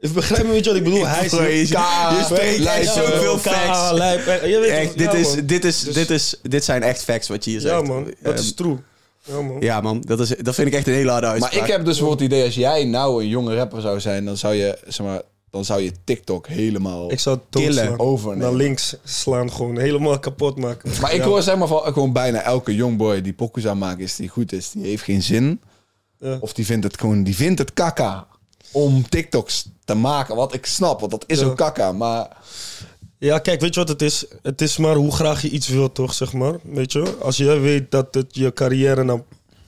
[SPEAKER 1] Ik begrijp een beetje wat ik bedoel. Oh, Hij is...
[SPEAKER 3] Bro, je,
[SPEAKER 2] Ka-
[SPEAKER 3] je spreekt echt
[SPEAKER 2] lijst,
[SPEAKER 3] zoveel
[SPEAKER 1] Ja, Ka-
[SPEAKER 3] facts.
[SPEAKER 1] lijp, eh, je weet
[SPEAKER 3] Echt,
[SPEAKER 1] toch?
[SPEAKER 3] dit,
[SPEAKER 1] Ja,
[SPEAKER 3] is,
[SPEAKER 1] man.
[SPEAKER 3] dit, is,
[SPEAKER 1] Dus-
[SPEAKER 3] dit, is, dit zijn echt facts wat je hier zegt.
[SPEAKER 1] Ja, man. Dat
[SPEAKER 3] Ehm,
[SPEAKER 1] is true. Ja, man.
[SPEAKER 3] Ja, man. Dat, is, dat vind ik echt een hele harde uitspraak.
[SPEAKER 2] Maar ik heb dus bijvoorbeeld het idee, als jij nou een jonge rapper zou zijn, dan zou je, zeg maar, dan zou je TikTok helemaal.
[SPEAKER 1] Ik zou het doodslaan.
[SPEAKER 2] overnemen.
[SPEAKER 1] Naar links slaan gewoon. Helemaal kapot maken.
[SPEAKER 2] Maar ik
[SPEAKER 1] Ja.
[SPEAKER 2] hoor zeg maar van gewoon bijna elke jongboy die pokoes aanmaakt is die goed is, die heeft geen zin.
[SPEAKER 1] Ja.
[SPEAKER 2] Of die vindt het gewoon, die vindt het kakka om TikToks te maken. Wat ik snap, want dat is
[SPEAKER 1] Ja.
[SPEAKER 2] ook kakka. Maar
[SPEAKER 1] Ja, kijk, weet je wat het is? Het is maar hoe graag je iets wilt, toch, zeg maar. Weet je? Als jij weet dat het je carrière naar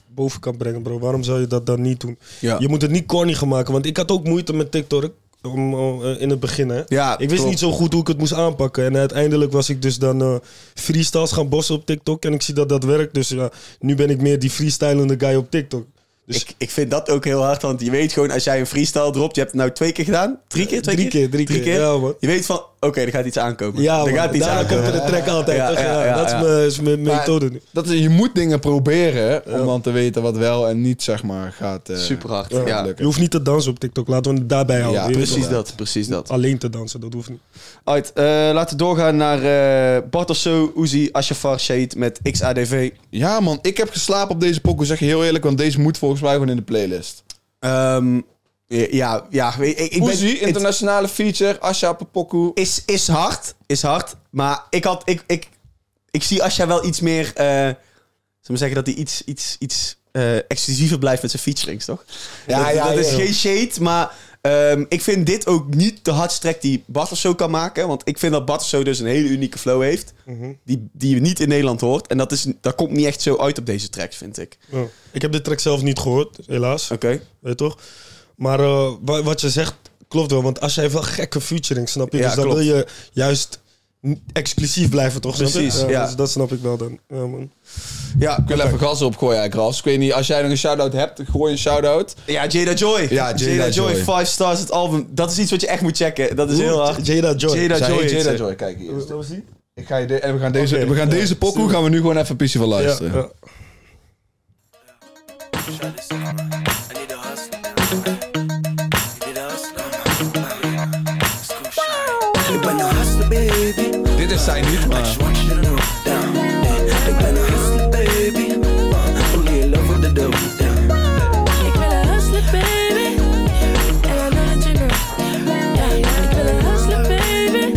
[SPEAKER 1] boven kan brengen, bro, waarom zou je dat dan niet doen?
[SPEAKER 3] Ja.
[SPEAKER 1] Je moet het niet corny gaan maken, want ik had ook moeite met TikTok om, om, eh, in het begin, hè.
[SPEAKER 3] Ja,
[SPEAKER 1] ik wist
[SPEAKER 3] klopt.
[SPEAKER 1] niet zo goed hoe ik het moest aanpakken. En uiteindelijk was ik dus dan eh freestyles gaan bossen op TikTok en ik zie dat dat werkt. Dus ja, nu ben ik meer die freestylende guy op TikTok. Dus
[SPEAKER 3] ik, ik vind dat ook heel hard, want je weet gewoon als jij een freestyle dropt, je hebt het nou twee keer gedaan, drie keer, twee
[SPEAKER 1] Drie keer, drie keer. Ja, man.
[SPEAKER 3] je weet van, oké, er gaat iets aankomen.
[SPEAKER 1] ja,
[SPEAKER 3] er
[SPEAKER 1] man,
[SPEAKER 3] gaat iets
[SPEAKER 1] daarna komt
[SPEAKER 3] aankomen.
[SPEAKER 1] er de track altijd.
[SPEAKER 3] Ja,
[SPEAKER 1] toch?
[SPEAKER 3] ja,
[SPEAKER 1] Ja,
[SPEAKER 3] ja,
[SPEAKER 1] dat is
[SPEAKER 3] ja.
[SPEAKER 1] mijn- is mijn
[SPEAKER 2] maar
[SPEAKER 1] methode nu.
[SPEAKER 2] Dat is, je moet dingen proberen om dan te weten wat wel en niet zeg maar gaat. eh,
[SPEAKER 3] Super hard.
[SPEAKER 2] gaat
[SPEAKER 3] Ja,
[SPEAKER 2] lukken.
[SPEAKER 1] Je hoeft niet te dansen op TikTok, laten we het daarbij houden.
[SPEAKER 2] Ja,
[SPEAKER 1] Je weet toch?
[SPEAKER 3] precies dat, precies dat.
[SPEAKER 1] alleen te dansen, dat hoeft niet.
[SPEAKER 3] Alright, eh, laten we doorgaan naar eh Bart of Zo, Uzi, Ashafar, Shade met XADV.
[SPEAKER 2] Ja man, ik heb geslapen op deze pokoe, zeg je heel eerlijk, want deze moet volgens mij gewoon in de playlist.
[SPEAKER 3] Ehm, ja, ja, weet- ik, ik ben...
[SPEAKER 2] Oezie,
[SPEAKER 3] het-
[SPEAKER 2] internationale feature, Asja op een pokoe.
[SPEAKER 3] is, is hard. Is hard. Maar ik had. Ik, ik, ik zie Asja wel iets meer. eh zal ik maar zeggen dat hij iets, iets, iets eh, exclusiever blijft met zijn featurings, toch?
[SPEAKER 2] Ja,
[SPEAKER 3] dat,
[SPEAKER 2] ja,
[SPEAKER 3] dat
[SPEAKER 2] ja,
[SPEAKER 3] is
[SPEAKER 2] ja.
[SPEAKER 3] geen shade, maar. ehm, ik vind dit ook niet de hardste track die Bart of zo kan maken. Want ik vind dat Bart of zo dus een hele unieke flow heeft.
[SPEAKER 2] Mhm.
[SPEAKER 3] die, die je niet in Nederland hoort. En dat, is, dat komt niet echt zo uit op deze tracks, vind ik.
[SPEAKER 1] Ja. Ik heb de track zelf niet gehoord, helaas.
[SPEAKER 3] Oké.
[SPEAKER 1] Weet je toch? Maar eh, wa- wat je zegt klopt wel, want als jij wel gekke featuring, snap je?
[SPEAKER 3] Ja,
[SPEAKER 1] dus dan
[SPEAKER 3] klopt.
[SPEAKER 1] wil je juist n- exclusief blijven, toch? Snap je?
[SPEAKER 3] Precies, ja.
[SPEAKER 1] dus dat snap ik wel dan. Ja, man.
[SPEAKER 3] Ja,
[SPEAKER 2] Ik wil even gas opgooien, eigenlijk, Ras. Ik weet niet, als jij nog een shout-out hebt, gooi een shout-out.
[SPEAKER 3] ja, Jada Joy.
[SPEAKER 2] Ja, Jada
[SPEAKER 3] Joy,
[SPEAKER 2] Joy.
[SPEAKER 3] 5 Stars, het album. Dat is iets wat je echt moet checken. Dat is heel hard.
[SPEAKER 1] Jada Joy.
[SPEAKER 3] Jada
[SPEAKER 2] Zij
[SPEAKER 3] Joy.
[SPEAKER 2] heet
[SPEAKER 3] heet
[SPEAKER 2] Jada
[SPEAKER 3] ze.
[SPEAKER 2] Joy, kijk hier.
[SPEAKER 1] Zullen we zien?
[SPEAKER 2] Ik ga je de- en we gaan deze,
[SPEAKER 1] Oké,
[SPEAKER 2] we gaan
[SPEAKER 1] ja,
[SPEAKER 2] deze pokoe gaan we nu gewoon even een piece van
[SPEAKER 1] Ja,
[SPEAKER 2] luisteren.
[SPEAKER 1] ja.
[SPEAKER 4] Ik ben een hustler, baby.
[SPEAKER 2] Dit is zij niet, maar...
[SPEAKER 4] Switch it up, down. Ik ben een hustler, baby. Only in love with the dope, down.
[SPEAKER 6] Ik wil een hustler baby. En I know that you know. Ja, ja, ik wil een hustler baby.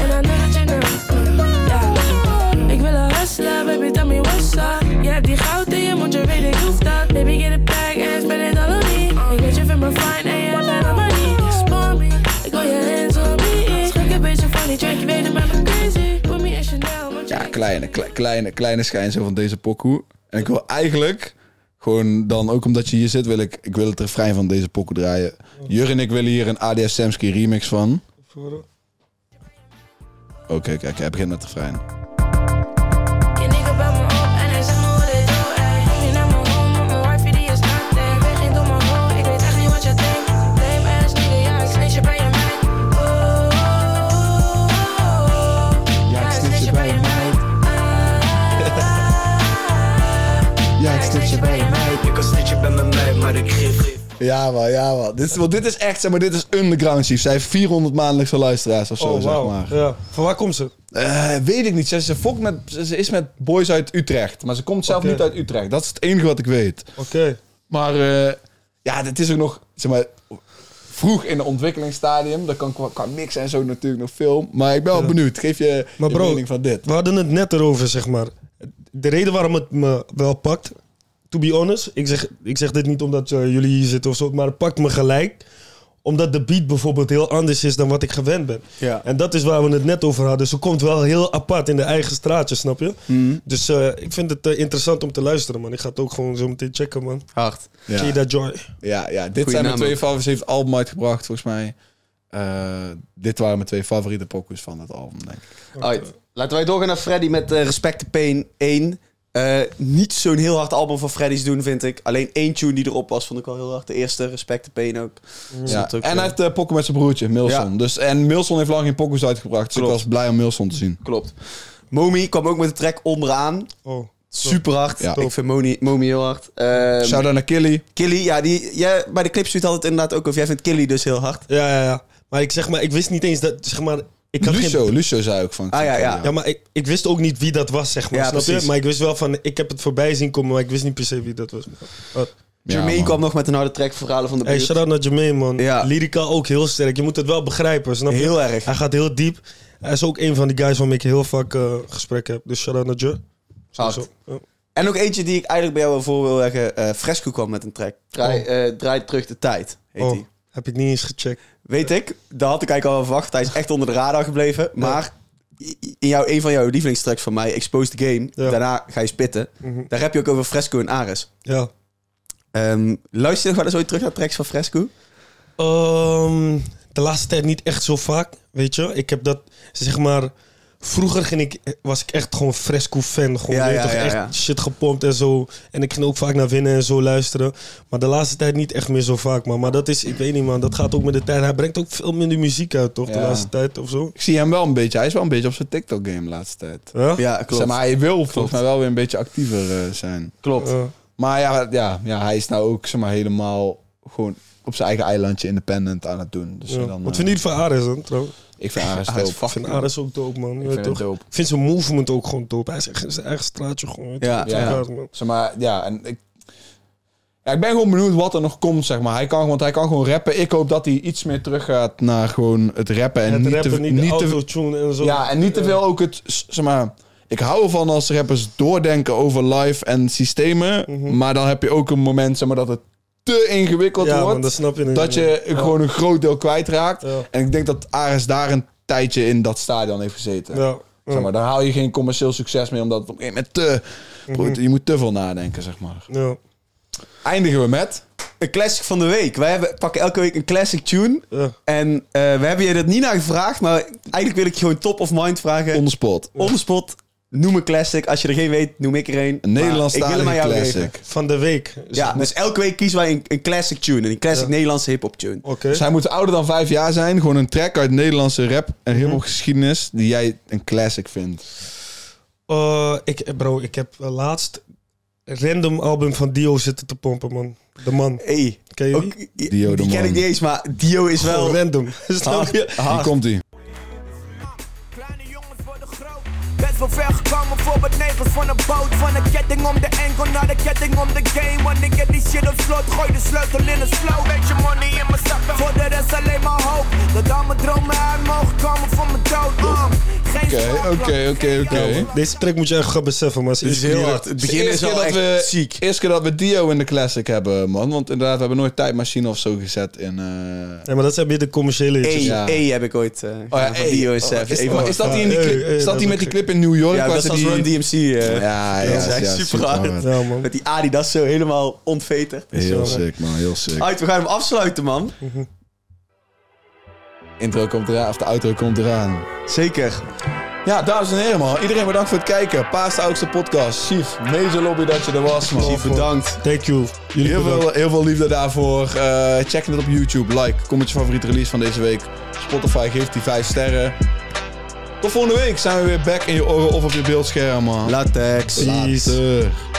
[SPEAKER 6] En I know that you know. Ja. Ik wil een hustler baby, tell me what's up. Je hebt die goud in je mond, je weet ik hoef dat. Baby, get it back en spend it all on me. Ik weet je vindt me fine en je hebt mijn money. Spawn me, ik wil je hands on me. Schrik een beetje van die track, je weet het maakt me crazy. Put me in Chanel, want je
[SPEAKER 2] Ja, kleine, kle- kleine, kleine schijn zo van deze pokoe. En ik wil eigenlijk, gewoon dan ook omdat je hier zit, wil ik, ik wil het refrein van deze pokoe draaien. Jur en ik willen hier een ADS Samsky remix van. Oké, kijk, hij begint met het refrein.
[SPEAKER 6] Je nigga belt me op en hij zegt me hoe dit doe, ey. Kom je naar mijn home, want mijn wifi die is actief. Ik ben geen domme hoe, ik weet echt niet wat je denkt. Lame ass nigga, ja, ik snitch je bij je meid. Oh, oh, oh, oh. Ja, ik snitch je bij je meid. Ja, ik snitch je bij je meid.
[SPEAKER 4] Ik kan snitchen bij mijn meid, maar ik geef.
[SPEAKER 2] Ja man, ja man. Dit, is- want dit is echt, zeg maar, dit is underground chief. Zij heeft 400 maandelijkse luisteraars of zo,
[SPEAKER 1] Oh,
[SPEAKER 2] zeg
[SPEAKER 1] wauw.
[SPEAKER 2] maar.
[SPEAKER 1] Ja. Van waar komt ze?
[SPEAKER 2] Eh, weet ik niet. Ze, ze, fokt met, ze ze is met boys uit Utrecht. Maar ze komt zelf
[SPEAKER 1] Oké.
[SPEAKER 2] niet uit Utrecht. Dat is het enige wat ik weet.
[SPEAKER 1] Oké.
[SPEAKER 2] Maar eh, ja, het is ook nog... Zeg maar, vroeg in de ontwikkelingsstadium. Dat kan qua, qua mix en zo natuurlijk nog veel. Maar ik ben wel benieuwd. Geef je
[SPEAKER 1] Maar
[SPEAKER 2] je
[SPEAKER 1] bro,
[SPEAKER 2] mening van dit.
[SPEAKER 1] We hadden het net erover, zeg maar. De reden waarom het me wel pakt, to be honest, ik zeg, ik zeg dit niet omdat eh, jullie hier zitten of zo, maar het pakt me gelijk omdat de beat bijvoorbeeld heel anders is dan wat ik gewend ben.
[SPEAKER 3] Ja.
[SPEAKER 1] En dat is waar we het net over hadden. Ze komt wel heel apart in de eigen straatje, snap je? Dus eh, ik vind het eh, interessant om te luisteren, man. Ik ga het ook gewoon zo meteen checken, man.
[SPEAKER 3] Hard.
[SPEAKER 2] Ja.
[SPEAKER 1] Zie je dat, Joy?
[SPEAKER 2] Ja, ja dit
[SPEAKER 3] Goeie
[SPEAKER 2] zijn mijn
[SPEAKER 3] naam
[SPEAKER 2] twee
[SPEAKER 3] ook.
[SPEAKER 2] favorieten. Ze heeft het album uitgebracht, volgens mij. Eh, dit waren mijn twee favoriete pokus van het album, denk ik.
[SPEAKER 3] Alright. Laten wij doorgaan naar Freddy met eh, Respect the Pain 1. Eh, niet zo'n heel hard album van Freddy's doen, vind ik. Alleen één tune die erop was, vond ik wel heel hard. De eerste, Respect the Pain ook.
[SPEAKER 2] Ja.
[SPEAKER 3] Stond ook,
[SPEAKER 2] En
[SPEAKER 3] eh,
[SPEAKER 2] hij heeft eh pokken met zijn broertje, Milson.
[SPEAKER 3] Ja.
[SPEAKER 2] Dus, en Milson heeft lang geen pokus uitgebracht. Dus
[SPEAKER 3] Klopt.
[SPEAKER 2] ik was blij om Milson te zien.
[SPEAKER 3] Klopt. Momi kwam ook met de track onderaan.
[SPEAKER 1] Oh.
[SPEAKER 3] Super hard.
[SPEAKER 2] Ja.
[SPEAKER 3] Ik vind Momi, Momi heel hard. Ehm,
[SPEAKER 2] Shout-out naar Killy.
[SPEAKER 3] Killy, ja, die, jij, bij de clips had het inderdaad ook over. Jij vindt Killy dus heel hard.
[SPEAKER 1] Ja, ja, ja. Maar ik zeg maar, ik wist niet eens dat, zeg maar... Ik had geen
[SPEAKER 2] Lucio, Lucio zei ook van... eh,
[SPEAKER 3] Ah, ja, ja.
[SPEAKER 1] Ja, maar ik, ik wist ook niet wie dat was, zeg maar.
[SPEAKER 3] Ja,
[SPEAKER 1] snap
[SPEAKER 3] precies.
[SPEAKER 1] je? Maar ik wist wel van, ik heb het voorbij zien komen, maar ik wist niet per se wie dat was. Oh.
[SPEAKER 3] Jermaine
[SPEAKER 2] man.
[SPEAKER 3] kwam nog met een harde track, verhalen van de
[SPEAKER 1] Hey,
[SPEAKER 3] buurt.
[SPEAKER 1] shout-out naar Jermaine, man.
[SPEAKER 3] Ja.
[SPEAKER 1] Lyrica ook heel sterk. Je moet het wel begrijpen, snap je?
[SPEAKER 3] Heel erg.
[SPEAKER 1] Hij gaat heel diep. Hij is ook een van die guys waarmee ik heel vaak eh gesprekken heb. Dus shout-out naar Jer.
[SPEAKER 3] Hard.
[SPEAKER 1] Sowieso. Ja.
[SPEAKER 3] En ook eentje die ik eigenlijk bij jou wel voor wil leggen. Eh, Fresco kwam met een track. Draai, eh, draai terug de tijd, heet
[SPEAKER 1] Oh,
[SPEAKER 3] die.
[SPEAKER 1] heb ik niet eens gecheckt.
[SPEAKER 3] Weet ik, dat had ik eigenlijk al wel verwacht. Hij is echt onder de radar gebleven. Maar in jouw, een van jouw lievelingstracks van mij, Exposed Game,
[SPEAKER 1] Ja.
[SPEAKER 3] daarna ga je spitten. Daar heb je ook over Fresco en Ares.
[SPEAKER 1] Ja.
[SPEAKER 3] Ehm, luister je nog wel eens ooit terug naar tracks van Fresco?
[SPEAKER 1] Ehm, de laatste tijd niet echt zo vaak, weet je. Ik heb dat, zeg maar... Vroeger ging ik, was ik echt gewoon Fresco-fan. Gewoon
[SPEAKER 3] Ja,
[SPEAKER 1] weet je
[SPEAKER 3] ja,
[SPEAKER 1] toch,
[SPEAKER 3] ja,
[SPEAKER 1] echt
[SPEAKER 3] ja.
[SPEAKER 1] shit gepompt en zo. En ik ging ook vaak naar winnen en zo luisteren. Maar de laatste tijd niet echt meer zo vaak, man. Maar dat is, ik weet niet, man. Dat gaat ook met de tijd. Hij brengt ook veel minder muziek uit, toch? De
[SPEAKER 2] Ja.
[SPEAKER 1] laatste tijd of zo.
[SPEAKER 2] Ik zie hem wel een beetje. Hij is wel een beetje op zijn TikTok-game de laatste tijd.
[SPEAKER 1] Ja?
[SPEAKER 3] Ja, klopt.
[SPEAKER 2] Zeg maar hij wil volgens mij wel weer een beetje actiever eh, zijn.
[SPEAKER 3] klopt.
[SPEAKER 1] Eh,
[SPEAKER 2] Maar ja, ja, ja, hij is nou ook zeg maar, helemaal gewoon op zijn eigen eilandje independent aan het doen. Dus
[SPEAKER 1] ja.
[SPEAKER 2] dan,
[SPEAKER 1] Wat
[SPEAKER 2] eh,
[SPEAKER 1] vind je niet van Ares, dan, trouwens?
[SPEAKER 2] Ik vind Ares
[SPEAKER 3] Hij is
[SPEAKER 2] dope.
[SPEAKER 1] Ik vind Ares ook dope, man. Ik
[SPEAKER 2] vind hem dope.
[SPEAKER 1] Ik vind zijn movement ook gewoon dope. Hij is echt in zijn eigen straatje gewoon. weet je
[SPEAKER 3] Ja,
[SPEAKER 1] toch?
[SPEAKER 2] ja.
[SPEAKER 1] Elkaar, man.
[SPEAKER 2] Zeg maar, ja, en ik... Ja, ik ben gewoon benieuwd wat er nog komt, zeg maar. Hij kan, want hij kan gewoon rappen. Ik hoop dat hij iets meer teruggaat naar gewoon het rappen. En
[SPEAKER 1] Het
[SPEAKER 2] niet te,
[SPEAKER 1] rappen, niet, de
[SPEAKER 2] niet te,
[SPEAKER 1] autotune en zo.
[SPEAKER 2] ja, en niet te veel ook het, s- zeg maar... Ik hou ervan als rappers doordenken over live en systemen. Maar dan heb je ook een moment, zeg maar, dat het te ingewikkeld
[SPEAKER 1] Mhm. Ja,
[SPEAKER 2] wordt.
[SPEAKER 1] man, dat snap je niet,
[SPEAKER 2] Dat je
[SPEAKER 1] man.
[SPEAKER 2] gewoon een groot deel kwijtraakt.
[SPEAKER 1] Ja.
[SPEAKER 2] En ik denk dat Ares daar een tijdje in dat stadion heeft gezeten.
[SPEAKER 1] Ja.
[SPEAKER 2] Zeg maar, daar haal je geen commercieel succes mee, omdat het op een gegeven moment
[SPEAKER 1] Mhm.
[SPEAKER 2] te... Bro, Je moet te veel nadenken, zeg maar.
[SPEAKER 1] Ja.
[SPEAKER 2] Eindigen we met...
[SPEAKER 3] Een classic van de week. Wij hebben, pakken elke week een classic tune.
[SPEAKER 1] Ja.
[SPEAKER 3] En eh, we hebben je dat niet naar gevraagd, maar eigenlijk wil ik je gewoon top of mind vragen.
[SPEAKER 2] On the spot.
[SPEAKER 3] On the spot, noem een classic. Als je er geen weet, noem ik er een.
[SPEAKER 2] Een
[SPEAKER 3] Maar
[SPEAKER 2] Nederlandstalige
[SPEAKER 3] hem aan jou
[SPEAKER 2] classic.
[SPEAKER 3] geven.
[SPEAKER 1] Van de week. Dus-
[SPEAKER 3] Ja, dus elke week kiezen wij een, een classic tune. Een classic Nederlandse hip-hop tune.
[SPEAKER 1] Oké.
[SPEAKER 2] Dus hij moet ouder dan vijf jaar zijn. Gewoon een track uit Nederlandse rap
[SPEAKER 1] Mhm.
[SPEAKER 2] en hip geschiedenis die jij een classic vindt.
[SPEAKER 1] Eh, ik, bro, ik heb eh, laatst een random album van Dio zitten te pompen, man. De man.
[SPEAKER 3] Hey,
[SPEAKER 1] Ken je die? Oh,
[SPEAKER 3] ook- die
[SPEAKER 2] Dio de
[SPEAKER 3] ken
[SPEAKER 2] man.
[SPEAKER 3] ik niet eens, maar Dio is wel... Oh,
[SPEAKER 1] Gewoon random. Snap je?
[SPEAKER 2] Hier komt hij.
[SPEAKER 4] Kleine jongens worden groot. Best wel ver gekomen voor wat negels van een boot. Van een ketting om de enkel naar de ketting om de game. Want ik heb die shit op slot, gooi de sleutel in een slow. Beetje money in mijn zakken. Voor de rest alleen maar hoop. Dat al mijn dromen uit mogen komen van mijn dood. Uh, geen
[SPEAKER 2] Oké,
[SPEAKER 4] schoolplan.
[SPEAKER 2] oké, oké, oké.
[SPEAKER 1] Deze track moet je echt gaan beseffen, maar ze
[SPEAKER 3] Het is heel hard. Het begin is al echt
[SPEAKER 2] we,
[SPEAKER 3] ziek.
[SPEAKER 2] Eerste keer dat we Dio in de classic hebben, man. Want inderdaad, we hebben nooit tijdmachine of zo gezet in... eh,
[SPEAKER 1] Ja, maar dat zijn meer de commerciële
[SPEAKER 3] E,
[SPEAKER 1] hitjes.
[SPEAKER 2] Ja.
[SPEAKER 3] e heb ik ooit eh gedaan van
[SPEAKER 2] hey,
[SPEAKER 3] Dio is...
[SPEAKER 2] oh,
[SPEAKER 3] eh,
[SPEAKER 2] is,
[SPEAKER 3] even-
[SPEAKER 2] maar is dat die, in die,
[SPEAKER 1] Ja,
[SPEAKER 2] clip,
[SPEAKER 1] ja, ja,
[SPEAKER 2] is dat die
[SPEAKER 1] dat
[SPEAKER 2] met die
[SPEAKER 1] ook.
[SPEAKER 2] clip in New York?
[SPEAKER 3] ja,
[SPEAKER 2] waar
[SPEAKER 3] dat
[SPEAKER 2] ze
[SPEAKER 3] was
[SPEAKER 2] die-
[SPEAKER 3] Run DMC. eh,
[SPEAKER 2] Ja,
[SPEAKER 3] dat
[SPEAKER 2] ja,
[SPEAKER 3] is echt
[SPEAKER 2] ja,
[SPEAKER 3] super hard.
[SPEAKER 1] Ja, man.
[SPEAKER 3] Met die Adidas zo helemaal ontveterd.
[SPEAKER 2] Heel sick, man. Heel sick.
[SPEAKER 3] Uit, we gaan hem afsluiten, man.
[SPEAKER 2] Intro komt eraan, of de outro komt eraan.
[SPEAKER 3] Zeker.
[SPEAKER 2] Ja, dames en heren, man. Iedereen bedankt voor het kijken. Paas de oudste podcast. Chief, major lobby dat je er was, man.
[SPEAKER 3] Chief, bedankt.
[SPEAKER 1] Thank you. Jullie
[SPEAKER 2] Heel
[SPEAKER 1] bedankt.
[SPEAKER 2] veel, heel veel liefde daarvoor. Eh, check het op YouTube. Like, comment je favoriete release van deze week. Spotify geeft die 5 sterren. Tot volgende week zijn we weer back in je oren of op je beeldscherm, man.
[SPEAKER 3] Latex.
[SPEAKER 1] Peace.
[SPEAKER 2] Later.